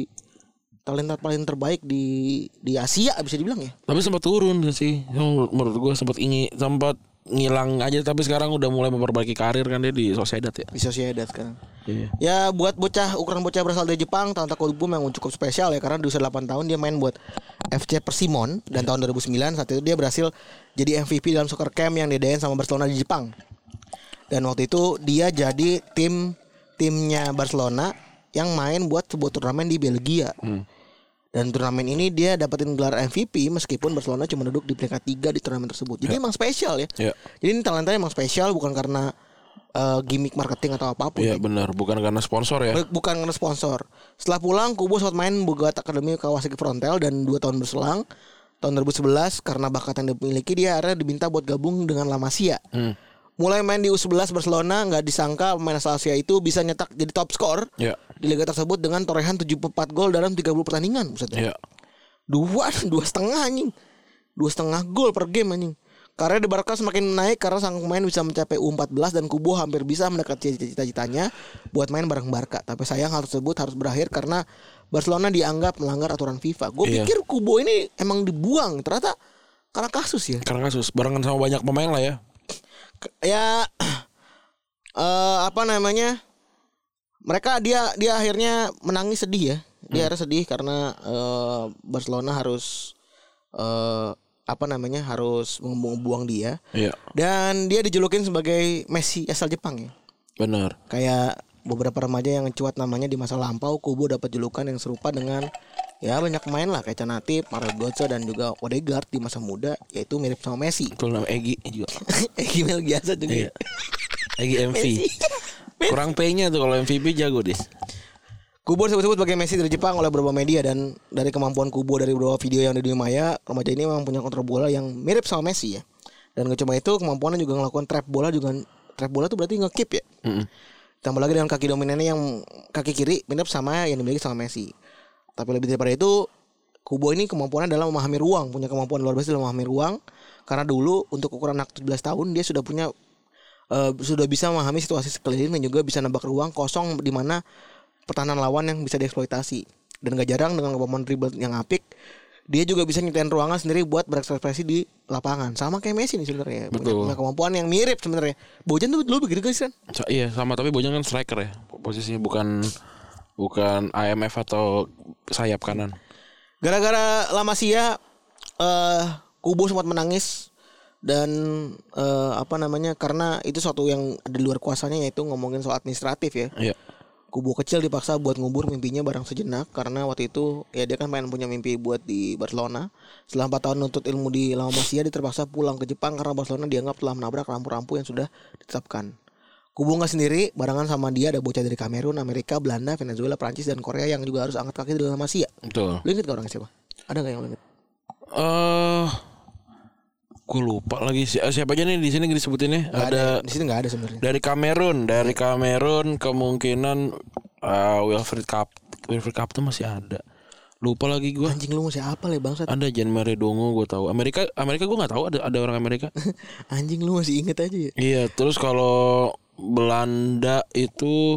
B: talenta paling terbaik di di Asia bisa dibilang ya.
C: Tapi sempat turun sih. Menur- Menurut gua sempat ingin sempat ngilang aja tapi sekarang udah mulai memperbaiki karir kan dia di Sociedad ya.
B: Bisa sih ada sekarang.
C: Iya.
B: Ya buat bocah ukuran bocah berasal dari Jepang Tanata Kolbum yang cukup spesial ya karena di usia 8 tahun dia main buat FC Persimon dan tahun 2009 saat itu dia berhasil jadi MVP dalam soccer camp yang diadain sama Barcelona di Jepang. Dan waktu itu dia jadi tim timnya Barcelona yang main buat sebuah turnamen di Belgia. Dan turnamen ini dia dapetin gelar MVP meskipun Barcelona cuma duduk di peringkat 3 di turnamen tersebut. Jadi emang spesial ya.
C: Ya.
B: Jadi ini talentanya emang spesial bukan karena eh, gimmick marketing atau apapun.
C: Iya benar, bukan karena sponsor ya.
B: Bu- Bukan karena sponsor. Setelah pulang, Kubo sempat main Bogot Academy Kawasaki Frontel dan dua tahun berselang, tahun 2011 karena bakat yang dimiliki dia akhirnya diminta buat gabung dengan La Masia. Mulai main di U11 Barcelona, nggak disangka pemain asal Asia itu bisa nyetak jadi top skor
C: Iya.
B: di liga tersebut dengan torehan 74 gol dalam 30 pertandingan. Buset
C: Iya.
B: dua dua setengah anjing dua setengah gol per game anjing karena di Barca semakin naik karena sang pemain bisa mencapai U14 dan Kubo hampir bisa mendekati cita-citanya buat main bareng Barca. Tapi sayang hal tersebut harus berakhir karena Barcelona dianggap melanggar aturan FIFA. Gue
C: Iya.
B: pikir Kubo ini emang dibuang, ternyata karena kasus ya.
C: Karena kasus barengan sama banyak pemain lah ya.
B: Ke- Ya eh apa namanya? Mereka dia dia akhirnya menangis sedih ya. Dia akhirnya sedih karena eh, Barcelona harus eh apa namanya? harus membuang-buang dia.
C: Iya.
B: Dan dia dijulukin sebagai Messi asal Jepang ya.
C: Benar.
B: Kayak beberapa remaja yang cuat namanya di masa lampau, Kubo dapat julukan yang serupa dengan ya banyak main lah kayak Canatip, Mario Götze dan juga Odegaard di masa muda yaitu mirip sama Messi.
C: Betul nama Egi juga.
B: Gimel biasa juga.
C: Iya. Egi MV.
B: Messi.
C: Kurang P-nya tuh kalau MVP jago, Dis.
B: Kubo disebut-sebut sebagai Messi dari Jepang oleh beberapa media dan dari kemampuan Kubo dari beberapa video yang ada di dunia maya, remaja ini memang punya kontrol bola yang mirip sama Messi ya. Dan gak cuma itu, kemampuannya juga ngelakukan trap bola juga trap bola tuh berarti nge-keep ya. Tambah lagi dengan kaki dominannya yang kaki kiri mirip sama yang dimiliki sama Messi. Tapi lebih daripada itu, Kubo ini kemampuannya dalam memahami ruang, punya kemampuan luar biasa dalam memahami ruang karena dulu untuk ukuran anak 17 tahun dia sudah punya eh, sudah bisa memahami situasi sekeliling dan juga bisa nembak ruang kosong di mana pertahanan lawan yang bisa dieksploitasi dan gak jarang dengan kemampuan dribble yang apik dia juga bisa nyetain ruangan sendiri buat berekspresi di lapangan sama kayak Messi nih sebenarnya punya,
C: Betul.
B: punya kemampuan yang mirip sebenarnya Bojan tuh dulu begitu guys kan
C: Sa- iya, sama tapi Bojan kan striker ya. Posisinya bukan bukan IMF atau sayap kanan.
B: gara-gara La Masia eh Kubo sempat menangis dan eh, apa namanya karena itu suatu yang di luar kuasanya yaitu ngomongin soal administratif ya
C: Iya.
B: Kubo kecil dipaksa buat ngubur mimpinya barang sejenak karena waktu itu ya dia kan pengen punya mimpi buat di Barcelona. Setelah 4 tahun nuntut ilmu di La Masia dia terpaksa pulang ke Jepang karena Barcelona dianggap telah menabrak rampu-rampu yang sudah ditetapkan. Kubo nggak sendiri, barengan sama dia ada bocah dari Kamerun, Amerika, Belanda, Venezuela, Prancis dan Korea yang juga harus angkat kaki dari La Masia.
C: Betul.
B: Lu inget gak orangnya siapa? Ada gak yang lu inget?
C: Eh gue lupa lagi si- eh, siapa aja nih di sini disebutinnya.
B: Nggak
C: Ada
B: Di sini gak ada sebenarnya.
C: dari Kamerun, dari Kamerun kemungkinan eh, Wilfried Cup Wilfried Cup tuh masih ada. Lupa lagi gua.
B: Anjing lu masih apa ya bangsat?
C: Ada Jean Marie Dongo gue tahu. Amerika Amerika gua nggak tahu ada ada orang Amerika.
B: Anjing lu masih inget aja ya?
C: iya, terus kalau Belanda itu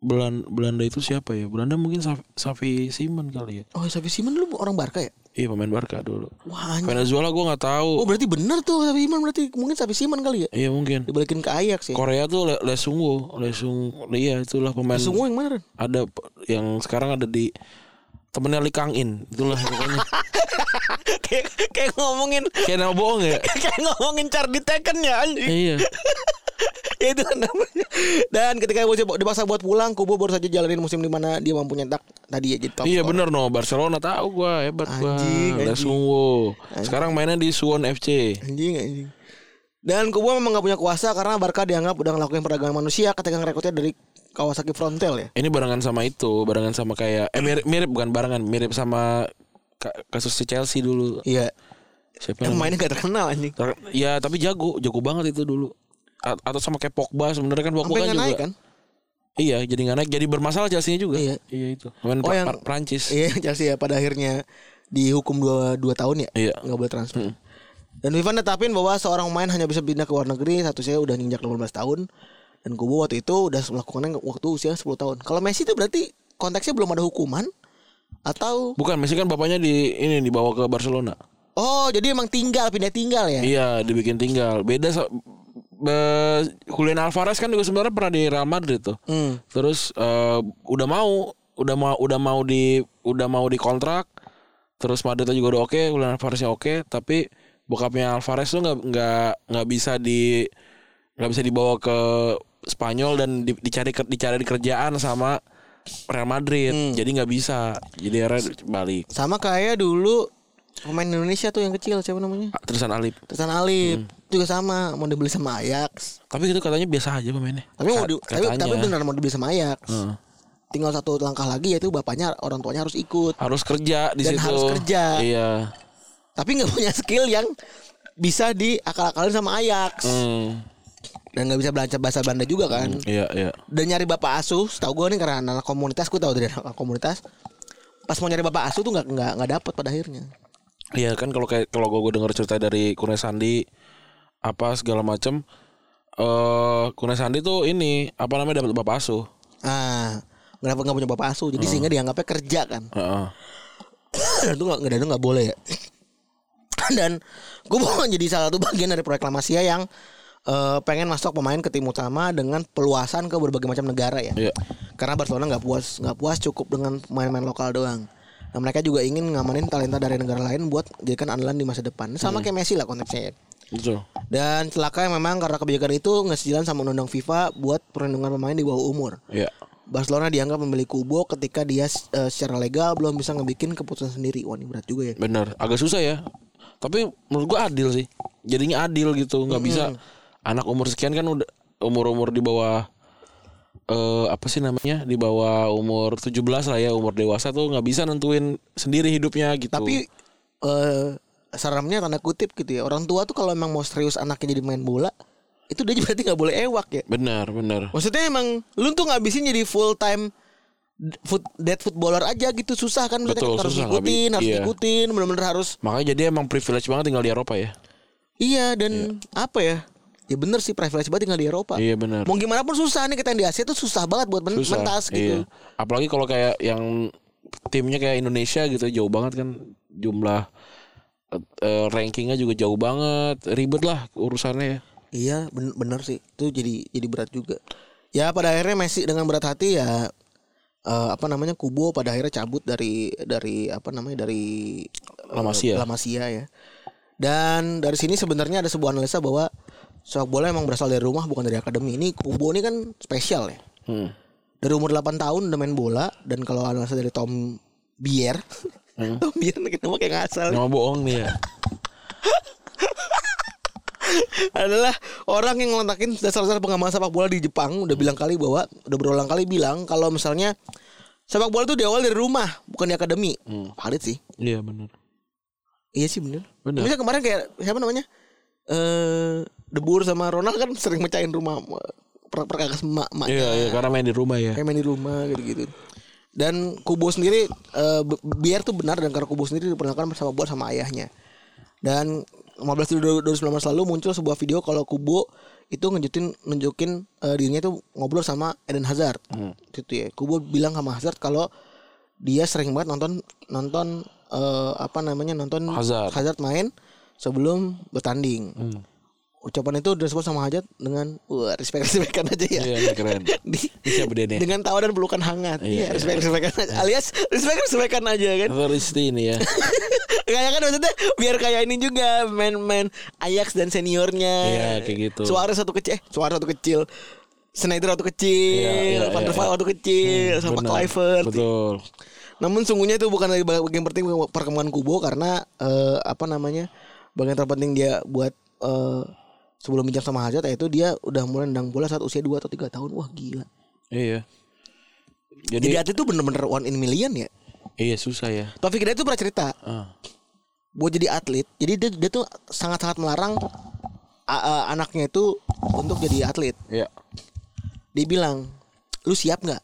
C: Belan, Belanda itu siapa ya? Belanda mungkin Safi, Safi Simon kali ya.
B: Oh, Safi Simon lu orang Barca ya?
C: Iya pemain Barca dulu.
B: Wah, anjing.
C: Venezuela gua nggak tahu.
B: Oh, berarti bener tuh Safi Simon berarti mungkin Safi Simon kali ya?
C: Iya mungkin.
B: Dibalikin ke Ajax ya?
C: Korea tuh Le, Lesungu, Lesung, iya itulah pemain.
B: Semua yang mana Ren?
C: Ada p- yang sekarang ada di temennya Lee Kang In, itulah pokoknya.
B: kayak kayak ngomongin
C: Kayak nama bohong ya.
B: kayak ngomongin Charlie Tekken ya anjing.
C: iya.
B: Ya, itu kan namanya. Dan ketika Bojan dipaksa buat pulang, Kubo baru saja jalanin musim di mana dia mampu nyetak tadi ya jadi top.
C: Iya
B: scorer.
C: bener no Barcelona tahu gua hebat gua.
B: Anjing, anjing.
C: Lesungu. Sekarang mainnya di Suwon FC.
B: Anjing anjing. Dan Kubo memang gak punya kuasa karena Barca dianggap udah ngelakuin perdagangan manusia ketika ngerekrutnya dari Kawasaki Frontel ya.
C: Ini barengan sama itu, barengan sama kayak eh mirip, mirip bukan barengan, mirip sama ka- kasus si Chelsea dulu.
B: Iya.
C: Siapa
B: Yang
C: namanya?
B: mainnya gak terkenal anjing.
C: Ter- Ya tapi jago, jago banget itu dulu. A- atau sama kayak Pogba sebenarnya kan
B: Sampai
C: Pogba kan
B: nggak
C: juga.
B: naik kan?
C: Iya, jadi nggak naik, jadi bermasalah Chelsea juga.
B: Iya.
C: itu. Pemain
B: Oh,
C: Pra-
B: yang-
C: Pra- Prancis.
B: Iya Chelsea ya pada akhirnya dihukum dua dua tahun ya.
C: Iya.
B: Nggak boleh transfer. Dan FIFA netapin bahwa seorang pemain hanya bisa pindah ke luar negeri satu usia udah nginjak 18 tahun dan Kubo waktu itu udah melakukannya waktu usia 10 tahun. Kalau Messi itu berarti konteksnya belum ada hukuman atau
C: Bukan Messi kan bapaknya di ini dibawa ke Barcelona.
B: oh jadi emang tinggal pindah tinggal ya?
C: Iya, dibikin tinggal. Beda so, be- Julian Alvarez kan juga sebenarnya pernah di Real Madrid tuh.
B: Hmm.
C: Terus eh, udah mau, udah mau udah mau di udah mau dikontrak. Terus Madridnya juga udah oke, Julian Alvareznya oke, tapi bokapnya Alvarez tuh nggak nggak nggak bisa di nggak bisa dibawa ke Spanyol dan di- dicari ke- dicari kerjaan sama Real Madrid.
B: Hmm.
C: Jadi nggak bisa. Jadi akhirnya balik.
B: Sama kayak dulu pemain Indonesia tuh yang kecil siapa namanya?
C: Terusan Alip.
B: Tristan Alip
C: Hmm.
B: juga sama mau dibeli sama Ajax.
C: Tapi itu katanya biasa aja pemainnya.
B: Tapi mau di,
C: Kat-
B: tapi, tapi
C: katanya. Hmm.
B: benar mau dibeli sama Ajax.
C: Heeh.
B: Tinggal satu langkah lagi yaitu bapaknya orang tuanya harus ikut.
C: harus kerja di
B: Dan
C: situ.
B: harus kerja.
C: Iya.
B: Tapi nggak punya skill yang bisa diakal-akalin sama Ajax.
C: Hmm.
B: dan nggak bisa belajar bahasa Belanda juga kan
C: Iya, iya.
B: dan nyari bapak asuh setahu gue nih karena anak komunitas gue tahu dari anak komunitas pas mau nyari bapak asuh tuh nggak nggak nggak dapet pada akhirnya
C: Iya kan kalau kayak kalau gue denger cerita dari Kune Sandi apa segala macem eh Kune Sandi tuh ini apa namanya dapat bapak asuh.
B: ah nggak dapet nggak punya bapak asuh
C: Hmm.
B: jadi sehingga dianggapnya kerja kan
C: Heeh.
B: dan itu nggak dan itu nggak boleh ya dan gue mau jadi salah satu bagian dari proyek Lamasia yang eh, pengen masuk pemain ke tim utama dengan peluasan ke berbagai macam negara ya
C: Iya.
B: karena Barcelona nggak puas nggak puas cukup dengan pemain-pemain lokal doang nah mereka juga ingin ngamanin talenta dari negara lain buat jadikan andalan di masa depan sama kayak Messi lah konteksnya ya.
C: Betul.
B: dan celaka memang karena kebijakan itu nggak sejalan sama undang-undang FIFA buat perlindungan pemain di bawah umur
C: Iya.
B: Barcelona dianggap memiliki Kubo ketika dia eh, secara legal belum bisa ngebikin keputusan sendiri wah ini berat juga ya
C: Bener. Agak susah ya. Tapi menurut gue adil sih. Jadinya adil gitu. Nggak bisa anak umur sekian kan udah umur-umur di bawah eh apa sih namanya di bawah umur 17 lah ya umur dewasa tuh nggak bisa nentuin sendiri hidupnya gitu
B: tapi eh seramnya tanda kutip gitu ya orang tua tuh kalau emang mau serius anaknya jadi main bola itu dia berarti nggak boleh ewak ya
C: Benar, benar.
B: Maksudnya emang lu tuh ngabisin jadi full time d- foot, dead footballer aja gitu susah kan Maksudnya
C: Betul,
B: kan harus
C: susah,
B: ngikutin,
C: ngabi-
B: harus
C: iya.
B: ngikutin, benar-benar harus
C: Makanya jadi emang privilege banget tinggal di Eropa ya.
B: iya dan apa ya? Ya bener sih privilege banget tinggal di Eropa.
C: Iya, benar.
B: Mau gimana pun susah nih kita yang di Asia tuh susah banget buat men-
C: Susah.
B: mentas gitu.
C: Iya. Apalagi kalau kayak yang timnya kayak Indonesia gitu jauh banget kan jumlah eh, eh, rankingnya juga jauh banget ribet lah urusannya ya
B: Iya, ben- bener sih. Itu jadi jadi berat juga. Ya pada akhirnya Messi dengan berat hati ya eh, apa namanya Kubo pada akhirnya cabut dari dari apa namanya dari eh,
C: La Masia.
B: La Masia ya. Dan dari sini sebenarnya ada sebuah analisa bahwa sepak bola emang berasal dari rumah bukan dari akademi. Ini Kubo ini kan spesial ya.
C: hmm.
B: Dari umur 8 tahun udah main bola dan kalau analisa dari Tom Bier, Tom Bier kita mau kayak ngasal.
C: Nama bohong nih ya
B: adalah orang yang ngeletakin dasar-dasar pengaman sepak bola di Jepang udah bilang kali bahwa udah berulang kali bilang kalau misalnya sepak bola itu diawal dari rumah bukan di akademi valid sih
C: Iya benar
B: iya sih bener
C: Bener.
B: misalnya kemarin kayak siapa namanya eh debur sama Ronald kan sering mecahin rumah per perkakas emak emaknya
C: Iya iya karena main di rumah ya
B: kayak main di rumah gitu-gitu dan Kubo sendiri eh, b- biar tuh benar dan karena Kubo sendiri diperkenalkan bersama buat sama ayahnya dan 15 Juli 2019 lalu muncul sebuah video kalau Kubo itu ngejutin nunjukin eh, dirinya itu ngobrol sama Eden Hazard
C: Hmm.
B: gitu ya Kubo bilang sama Hazard kalau dia sering banget nonton nonton eh, apa namanya nonton
C: Hazard. Hmm.
B: main sebelum bertanding ucapan itu direspon sama Hazard dengan wah respect respectan aja ya
C: Iya ini keren
B: Di-
C: Ini siapa dia nih
B: dengan tawa dan pelukan hangat. Iya,
C: Iya,
B: respect respectan aja. Alias respect respectan aja kan.
C: Risti ini ya
B: Kayak kan maksudnya biar kayak ini juga main-main Ajax dan seniornya.
C: Iya, kayak gitu.
B: Suara satu kecil, eh, suara satu kecil. Snyder waktu kecil,
C: Iya, iya,
B: Van der
C: iya.
B: Vaart waktu kecil, sama
C: Benar.
B: Kluivert.
C: Betul
B: Namun sungguhnya itu bukan lagi bagian penting perkembangan Kubo karena eh, apa namanya? Bagian terpenting dia buat eh, sebelum bincang sama Hazard yaitu dia udah mulai nendang bola saat usia 2 atau 3 tahun. Wah, gila.
C: Iya Jadi,
B: Jadi atlet itu bener-bener one in million ya.
C: Iya susah ya
B: Taufik Hidayat itu pernah cerita
C: Ah.
B: buat jadi atlet. Jadi dia, dia tuh sangat-sangat melarang a- a- anaknya itu untuk jadi atlet.
C: Iya
B: Dia bilang, "Lu siap nggak?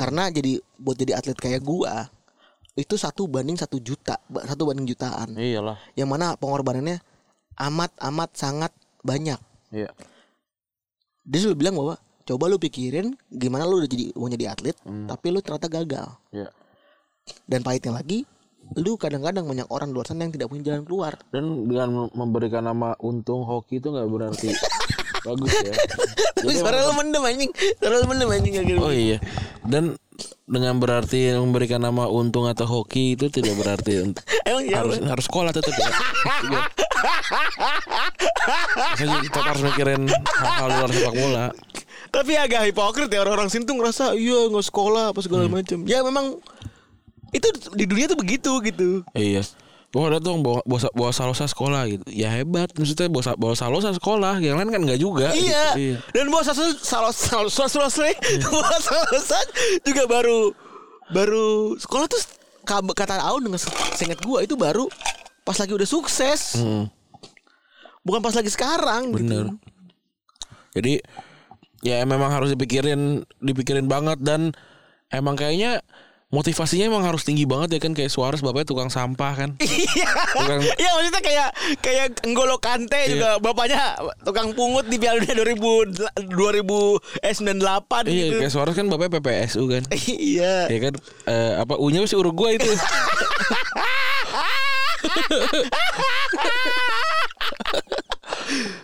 B: Karena jadi buat jadi atlet kayak gua itu satu banding satu juta, ba- satu banding jutaan.
C: Iyalah
B: Yang mana pengorbanannya amat amat sangat banyak
D: Iya.
B: dia selalu bilang bahwa coba lu pikirin gimana lu udah jadi mau jadi atlet tapi lu ternyata gagal
D: Iya.
B: dan pahitnya lagi lu kadang-kadang banyak orang di luar sana yang tidak punya jalan keluar
C: Dan dengan memberikan nama untung hoki itu nggak berarti bagus ya.
B: Lu suara lu mendem anjing suara lu mendem anjing kayak gitu.
C: Oh iya. Dan dengan berarti memberikan nama untung atau hoki itu tidak berarti unt-
B: emang ya
C: harus harus sekolah tetap ya. Iya. Makanya kita harus mikirin hal-hal luar sepak bola.
B: tapi agak hipokrit ya orang-orang sini tuh ngerasa iya nggak sekolah apa segala macam ya memang itu di dunia tuh begitu gitu
C: Iya. Wah ada tuh yang bawa, bawa, bawa Salosa sekolah gitu Ya hebat Maksudnya bawa, bawa Salosa sekolah Yang lain kan nggak juga
B: Iya.
C: gitu.
B: Dan bos Sasul salos salos salos salos bos Salosan juga baru baru sekolah tuh kab- kata Aun dengan se- seingat gua itu baru pas lagi udah sukses.
C: Hmm.
B: Bukan pas lagi sekarang
C: Bener.
B: gitu.
C: Jadi ya memang harus dipikirin, dipikirin banget dan emang kayaknya motivasinya emang harus tinggi banget ya kan kayak Suarez bapaknya tukang sampah kan.
B: Iya.
C: Tukang-
B: Iya maksudnya kayak kayak Nggolo Kante
C: Iya.
B: juga bapaknya tukang pungut di Piala Dunia 2000 2000 eh 98 gitu.
C: iya, kayak Suarez kan bapaknya PPSU kan.
B: Iya.
C: ya kan eh, apa U-nya masih Uruguay itu.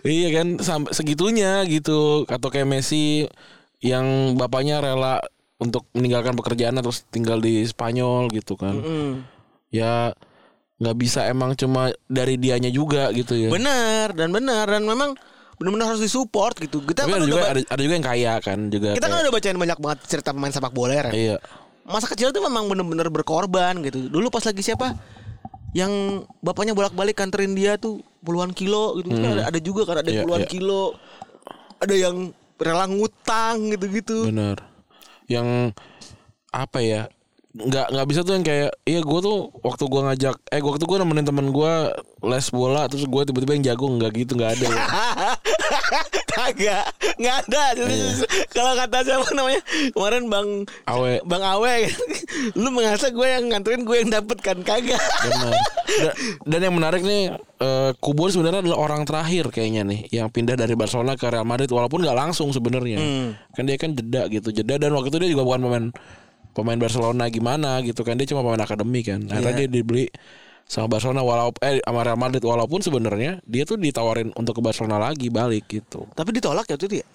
C: iya kan sampai segitunya gitu atau kayak Messi yang bapaknya rela untuk meninggalkan pekerjaannya terus tinggal di Spanyol gitu kan. Ya nggak bisa emang cuma dari dianya juga gitu ya.
B: Bener dan bener dan memang benar-benar harus disupport gitu. Kita
C: Tapi
B: kan
C: ada
B: udah
C: Iya, juga
B: ba-
C: ada, ada juga yang kaya kan juga.
B: kita kan
C: kayak-
B: udah bacain banyak banget cerita pemain sepak bola ya. Ren.
C: iya.
B: Masa kecil tuh memang bener-bener berkorban gitu. Dulu pas lagi siapa yang bapaknya bolak-balik kanterin dia tuh puluhan kilo gitu. Itu kan Ada, ada juga kan ada yang
C: Iya,
B: puluhan
C: iya.
B: kilo. Ada yang rela ngutang gitu-gitu.
C: Bener. Yang apa ya? Nggak nggak bisa tuh yang kayak iya gue tuh waktu gue ngajak eh gua- waktu gue nemenin temen gue les bola terus gue tiba-tiba yang jago nggak gitu nggak ada. ya.
B: Kagak, nggak ada.
C: Iya.
B: Kalau kata siapa namanya kemarin Bang
C: Awe.
B: Bang Awe, lu merasa gue yang nganterin gue yang dapet kan kagak.
C: Bener. Dan, dan yang menarik nih eh Kubur sebenarnya adalah orang terakhir kayaknya nih yang pindah dari Barcelona ke Real Madrid walaupun nggak langsung sebenarnya. Kan dia kan jeda gitu jeda dan waktu itu dia juga bukan pemain pemain Barcelona gimana gitu kan dia cuma pemain akademi kan. Akhirnya dia dibeli sama Barcelona walaupun eh sama Real Madrid walaupun sebenarnya dia tuh ditawarin untuk ke Barcelona lagi balik gitu.
B: Tapi ditolak ya waktu itu ya.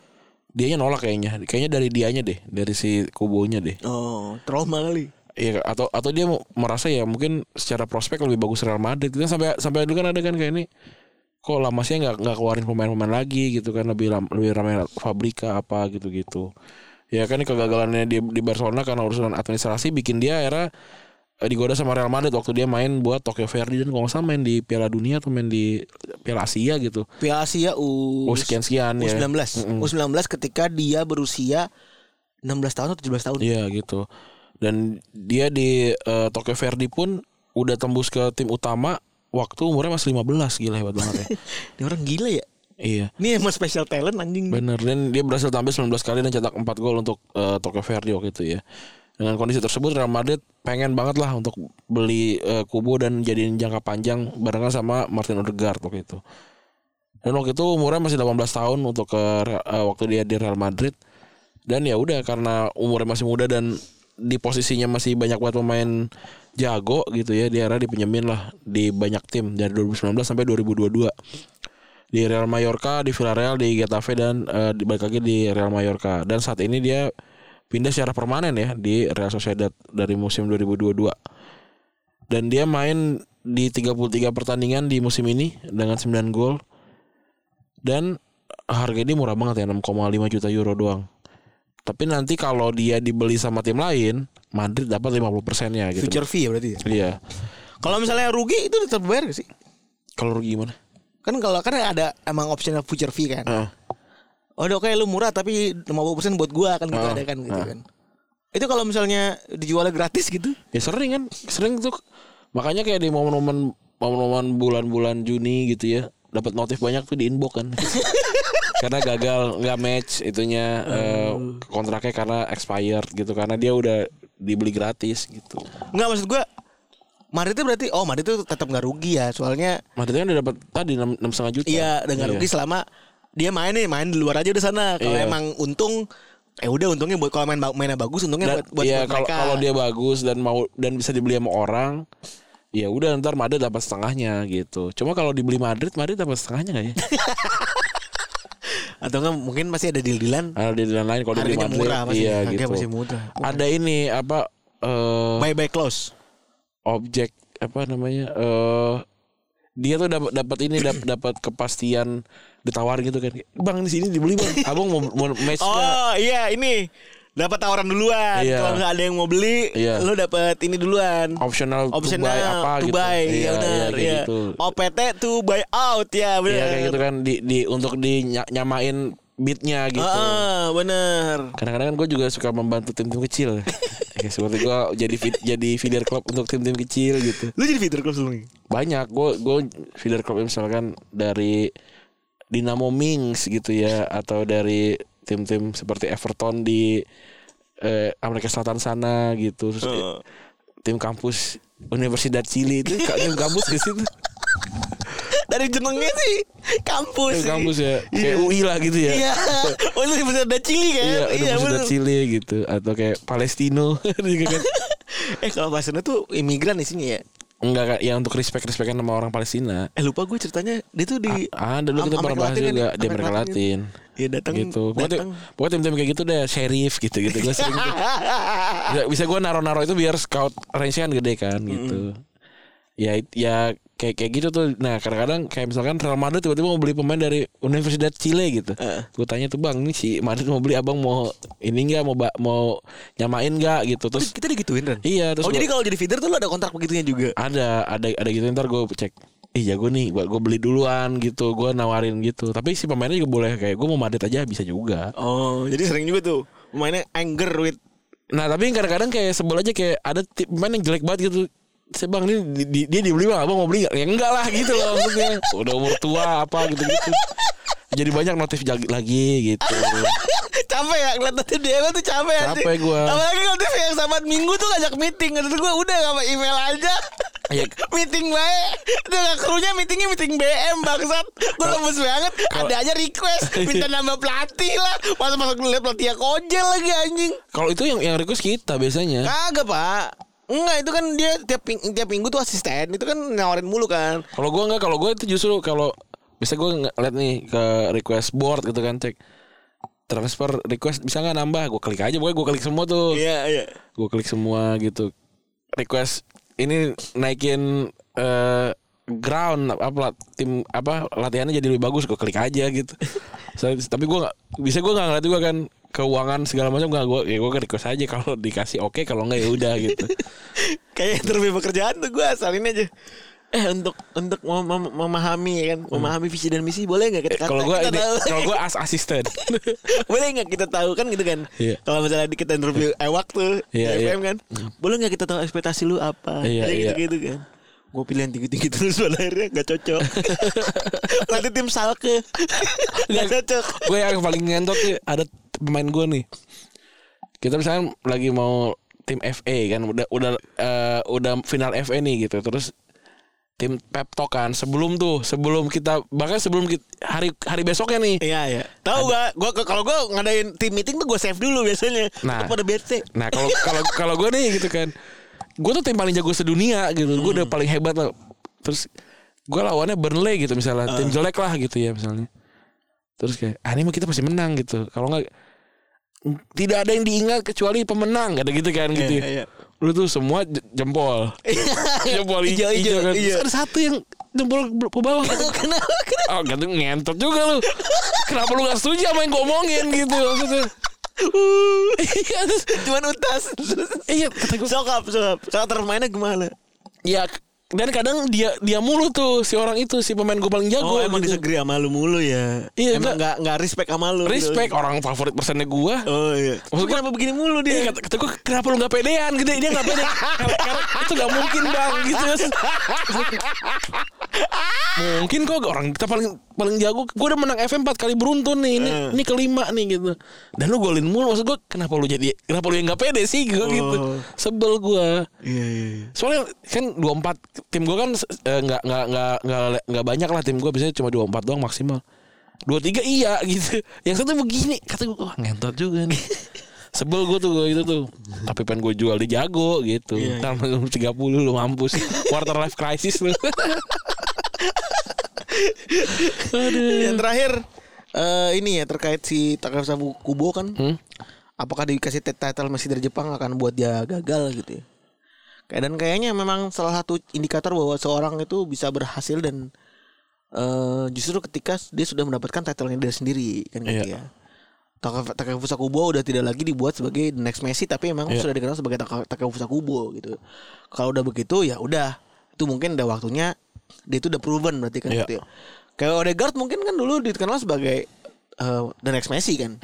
C: Dianya nolak kayaknya. Kayaknya dari dianya deh, dari si Kubonya deh.
B: Oh, trauma kali.
C: Iya atau atau dia merasa ya mungkin secara prospek lebih bagus Real Madrid gitu kan sampai sampai dulu kan ada kan kayak ini kok lama sih nggak nggak keluarin pemain-pemain lagi gitu kan lebih ram- lebih ramai Fabrika apa gitu-gitu ya kan ini kegagalannya di di Barcelona karena urusan administrasi bikin dia era digoda sama Real Madrid waktu dia main buat Tokyo Verdy dan kalau nggak salah main di Piala Dunia atau main di Piala Asia gitu
B: Piala Asia U
C: oh sekian sekian ya
B: U19. U19 ketika dia berusia 16 tahun atau 17 tahun.
C: Iya gitu. Dan dia di eh, Tokyo Verdy pun udah tembus ke tim utama waktu umurnya masih 15 gila hebat banget ya.
B: Ini orang gila ya.
C: iya.
B: Ini emang special talent anjing.
C: Bener dan dia berhasil tampil 19 kali dan cetak 4 gol untuk eh, Tokyo Verdy waktu itu ya. Dengan kondisi tersebut Real Madrid pengen banget lah untuk beli eh, Kubo dan jadiin jangka panjang barengan sama Martin Odegaard waktu itu. Dan waktu itu umurnya masih 18 tahun untuk ke eh, waktu dia di Real Madrid. Dan ya udah karena umurnya masih muda dan di posisinya masih banyak banget pemain jago gitu ya, dia akhirnya dipinjemin lah di banyak tim dari 2019 sampai 2022 di Real Mallorca, di Villarreal, di Getafe dan eh, di balik lagi di Real Mallorca. Dan saat ini dia pindah secara permanen ya di Real Sociedad dari musim 2022. Dan dia main di 33 pertandingan di musim ini dengan 9 gol. Dan harga ini murah banget ya 6,5 juta euro doang. Tapi nanti kalau dia dibeli sama tim lain, Madrid dapat 50 ya gitu.
B: Future fee ya berarti ya.
C: Iya.
B: Kalau misalnya rugi itu tetap bayar gak sih?
C: Kalau rugi gimana?
B: Kan kalau kan ada emang optional future fee kan.
C: Heeh.
B: Oh, udah oke lu murah tapi 50% buat gua kan
C: Ah,
B: gitu ada kan gitu kan. Itu kalau misalnya dijualnya gratis gitu.
C: Ya sering kan, sering tuh makanya kayak di momen-momen momen-momen bulan-bulan Juni gitu ya, dapat notif banyak tuh di inbox kan. karena gagal nggak match itunya eh, kontraknya karena expired gitu karena dia udah dibeli gratis gitu.
B: Enggak maksud gua Madrid berarti oh Madrid itu tetap nggak rugi ya soalnya
C: Madrid kan udah dapat tadi 6 setengah juta.
B: Iya, udah nggak rugi selama dia main nih, main di luar aja udah sana. Kalau
C: Iya.
B: emang untung, eh udah untungnya buat kalau main ba- mainnya bagus, untungnya
C: Dan,
B: buat buat,
C: iya,
B: buat
C: kalau
B: mereka.
C: kalau dia bagus dan mau dan bisa dibeli sama orang, ya udah ntar Madrid dapat setengahnya gitu. Cuma kalau dibeli Madrid, Madrid dapat setengahnya nggak ya?
B: atau enggak mungkin masih ada deal-dealan
C: Ada di jalan lain kalau dibeli
B: Harganya
C: Madrid,
B: murah masih,
C: iya
B: harganya
C: gitu.
B: masih murah.
C: Ada ini apa eh
B: buy buy close.
C: objek apa namanya eh dia tuh dapat dapat ini dap- dapat kepastian ditawarin gitu kan bang di sini dibeli bang abang mau, mau match nggak?
B: Oh, iya ini dapat tawaran duluan.
C: Iya.
B: Kalau nggak ada yang mau beli,
C: Iya.
B: lu dapat ini duluan.
C: optional
B: Optional
C: to buy apa
B: to
C: gitu
B: buy, iya, benar,
C: kayak
B: iya.
C: gitu
B: OPT to buy out ya, benar.
C: Iya, kayak gitu kan di, di untuk dinyamain beatnya gitu
B: Heeh, benar.
C: kadang-kadang kan gue juga suka membantu tim-tim kecil ya, seperti gue jadi feed- jadi feeder club untuk tim-tim kecil gitu
B: Lu jadi feeder club sebelumnya?
C: banyak gue gue feeder club ya misalkan dari Dinamo Mings gitu ya atau dari tim-tim seperti Everton di eh, Amerika Selatan sana gitu Terus, eh, tim kampus Universidad Chili itu ka- tim kampus ke situ
B: Dari jenengnya sih kampus.
C: tim
B: sih.
C: kampus ya kayak
B: Iya.
C: UI lah gitu ya
B: Iya. Oh, lu bisa ada Chili kan?
C: Iya, Universidad
B: bener.
C: Chili gitu atau kayak Palestino gitu kan.
B: Eh kalau bahasanya tuh imigran di sini ya.
C: Enggak Kak, ya untuk respect-respectan sama orang Palestina.
B: Eh lupa gue ceritanya dia tuh di
C: Ah, dulu
B: Iya. Am-
C: kita pernah
B: Amerika
C: bahas
B: Latin kan
C: juga
B: ya?
C: di Amerika Latin.
B: Iya datang
C: gitu. Pokoknya
B: datang.
C: tim- Pokoknya tim-tim kayak gitu deh, sheriff gitu-gitu. Gue sering gitu. tuh- bisa, bisa gue naro-naro itu biar scout range kan gede kan gitu. Ya it- ya kayak kayak gitu tuh. Nah, kadang-kadang kayak misalkan Real Madrid tiba-tiba mau beli pemain dari Universitas Chile gitu. Gue tanya tuh, "Bang, ini si Madrid mau beli Abang mau ini enggak mau ba- mau nyamain enggak?" gitu. Terus
B: Kita digituin kan?
C: iya, terus
B: oh
C: gua-
B: jadi kalau jadi feeder tuh lu ada kontrak begitunya juga.
C: ada ada ada gitu ntar gue cek Ih jago nih gue beli duluan gitu Gue nawarin gitu Tapi si pemainnya juga boleh Kayak gue mau Madrid aja bisa juga
B: Oh jadi sering juga tuh mainnya anger with
C: Nah tapi kadang-kadang kayak sebel aja Kayak ada tim pemain yang jelek banget gitu Saya bang ini di- di- dia dibeli bang Abang mau beli nggak? Ya enggak lah gitu loh maksudnya Udah umur tua apa gitu-gitu Jadi banyak notif jag- lagi gitu
B: capek ya kelihatannya dia tuh capek ya.
C: Capek gua.
B: Apalagi kalau dia yang sahabat minggu tuh ngajak meeting kata gue udah sama email aja. Iya.
C: Ya,
B: meeting baik dengan krunya meetingnya meeting BM bangsat gue lemes banget ada aja request minta nambah pelatih lah masa masuk ngeliat pelatihnya kojel lagi anjing
C: Kalau itu yang yang request kita biasanya
B: kagak pak Enggak itu kan dia tiap ping- tiap minggu tuh asisten itu kan nawarin mulu kan
C: Kalau gue enggak Kalau gue itu justru Kalau bisa gue ngeliat nih Ke request board gitu kan Cek transfer request bisa nggak nambah gue klik aja pokoknya gue klik semua tuh
B: iya iya
C: gue klik semua gitu request ini naikin eh, ground apa tim apa latihannya jadi lebih bagus gue klik aja gitu So, tapi gue nggak bisa gue nggak ngeliat juga kan keuangan segala macam nggak gue ya gue request aja kalau dikasih oke kalau nggak ya udah gitu
B: kayak interview pekerjaan tuh gue asalin aja eh untuk untuk mem- mem- memahami ya kan memahami visi dan misi boleh nggak kita kata-
C: Hmm. Eh, kalau gue
B: kita
C: ini
B: tahu?
C: kalau gue as asisten
B: boleh nggak kita tahu kan gitu kan
C: Iya.
B: kalau misalnya di- kita interview ewak tuh di
C: Iya, iya.
B: FM kan boleh nggak kita tahu ekspektasi lu apa
C: Iya,
B: Kayak
C: iya.
B: gitu gitu kan gue pilihan tinggi tinggi terus pada akhirnya nggak cocok nanti tim salke nggak cocok
C: gue yang paling ngentot tuh ada pemain gue nih kita misalnya lagi mau tim FA kan udah udah eh, udah final FA nih gitu terus tim pep Talk kan sebelum tuh sebelum kita bahkan sebelum ki- hari hari besoknya nih
B: Iya iya. Tahu gak? Gua ke- kalau gua ngadain tim meeting tuh gua save dulu biasanya.
C: Nah.
B: Untuk pada bete.
C: nah kalau kalau kalau gue nih gitu kan gue tuh tim paling jago sedunia gitu gue
B: Hmm.
C: udah paling hebat lah terus gue lawannya Burnley gitu
B: Ah.
C: misalnya tim jelek lah gitu ya misalnya terus kayak ah ini mah kita pasti menang gitu kalau nggak tidak ada yang diingat kecuali pemenang ada gitu kan gitu
B: Iya, iya.
C: ya. lu tuh semua j- jempol jempol
B: Ijo,
C: Iya,
B: ijo,
C: hijau kan
B: iya.
C: terus ada satu yang jempol ke bawah
B: Kenapa? Kenapa?
C: oh gitu ngentot juga lu kenapa lu gak setuju sama yang gue omongin gitu maksudnya
B: Uh.
C: Iya, terus-
B: Cuman utas. Terus-
C: iya kata gue
B: Sokap, sokap. Cara termainnya gimana?
C: ya dan kadang dia dia mulu tuh si orang itu si pemain gue paling
B: Oh,
C: jago
B: emang
C: gitu.
B: disagree sama lu mulu ya.
C: Iya,
B: emang
C: enggak.
B: enggak enggak respect sama lu.
C: respect orang favorit persennya gue
B: Oh iya.
C: Maksud gua-
B: kenapa begini mulu
C: Iya,
B: dia?
C: kata, kata gue kenapa lu gak pedean gitu dia gak pede karena, karena itu gak mungkin bang gitu Mungkin kok orang kita paling paling jago. Gue udah menang FM 4 kali beruntun nih. Ini
B: Eh.
C: ini kelima nih gitu. Dan lu golin mulu maksud gue kenapa lu jadi kenapa lu yang gak pede sih gue gitu.
B: Oh.
C: Sebel gue.
B: Iya iya. iya.
C: Soalnya kan 24 tim gue kan eh, nggak nggak nggak nggak nggak banyak lah tim gue biasanya cuma 24 doang maksimal. 23 iya gitu. Yang satu begini kata gue wah ngentot juga nih. Sebel gue tuh gue gitu tuh. Tapi pengen gue jual dia jago gitu.
B: Iya,
C: Ntar malam 30 lu mampus. Quarter life crisis lu.
B: Yang terakhir eh ini ya terkait si Takafisa Kubo kan. Apakah dikasih title Messi dari Jepang akan buat dia gagal gitu ya. Kayak- Dan kayaknya memang salah satu indikator bahwa seorang itu bisa berhasil dan eh justru ketika dia sudah mendapatkan title-nya dia sendiri kan gitu ya. Taka- Takefusa Kubo udah tidak lagi dibuat sebagai the next Messi tapi memang sudah dikenal sebagai Taka- Takefusa Kubo gitu. Kalau udah begitu ya udah itu mungkin udah waktunya dia itu udah proven berarti kan
C: Iya.
B: gitu. ya. Kayak Odegaard mungkin kan dulu dikenal sebagai eh, the next Messi kan.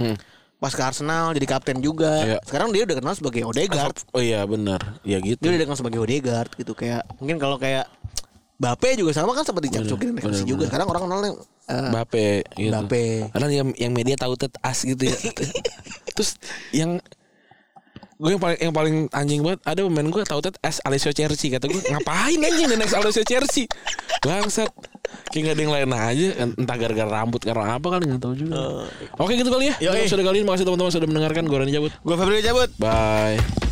B: Pas ke Arsenal jadi kapten juga.
C: Hmm. Iya.
B: Sekarang dia udah kenal sebagai Odegaard
C: Oh iya benar. Ya
B: dia
C: gitu.
B: udah dikenal sebagai Odegaard gitu kayak mungkin kalau kayak Bape juga sama kan seperti dicap-cokin
C: Bener,
B: Messi
C: bener,
B: juga sekarang orang kenalnya eh,
C: Bape gitu.
B: Mbappe.
C: Karena yang yang media tahu tet as gitu ya. Terus yang gue yang paling yang paling anjing banget ada pemain gue tahu tet as Alessio Cerci kata gue ngapain anjing the next Alessio Cerci bangsat kayak gak ada yang lain aja entah gara-gara rambut karena apa kan nggak tahu juga oke gitu kali
B: Oh.
C: ya
B: Yoi.
C: sudah kali ini makasih teman-teman sudah mendengarkan gue Rani cabut
B: gue Febri cabut
C: bye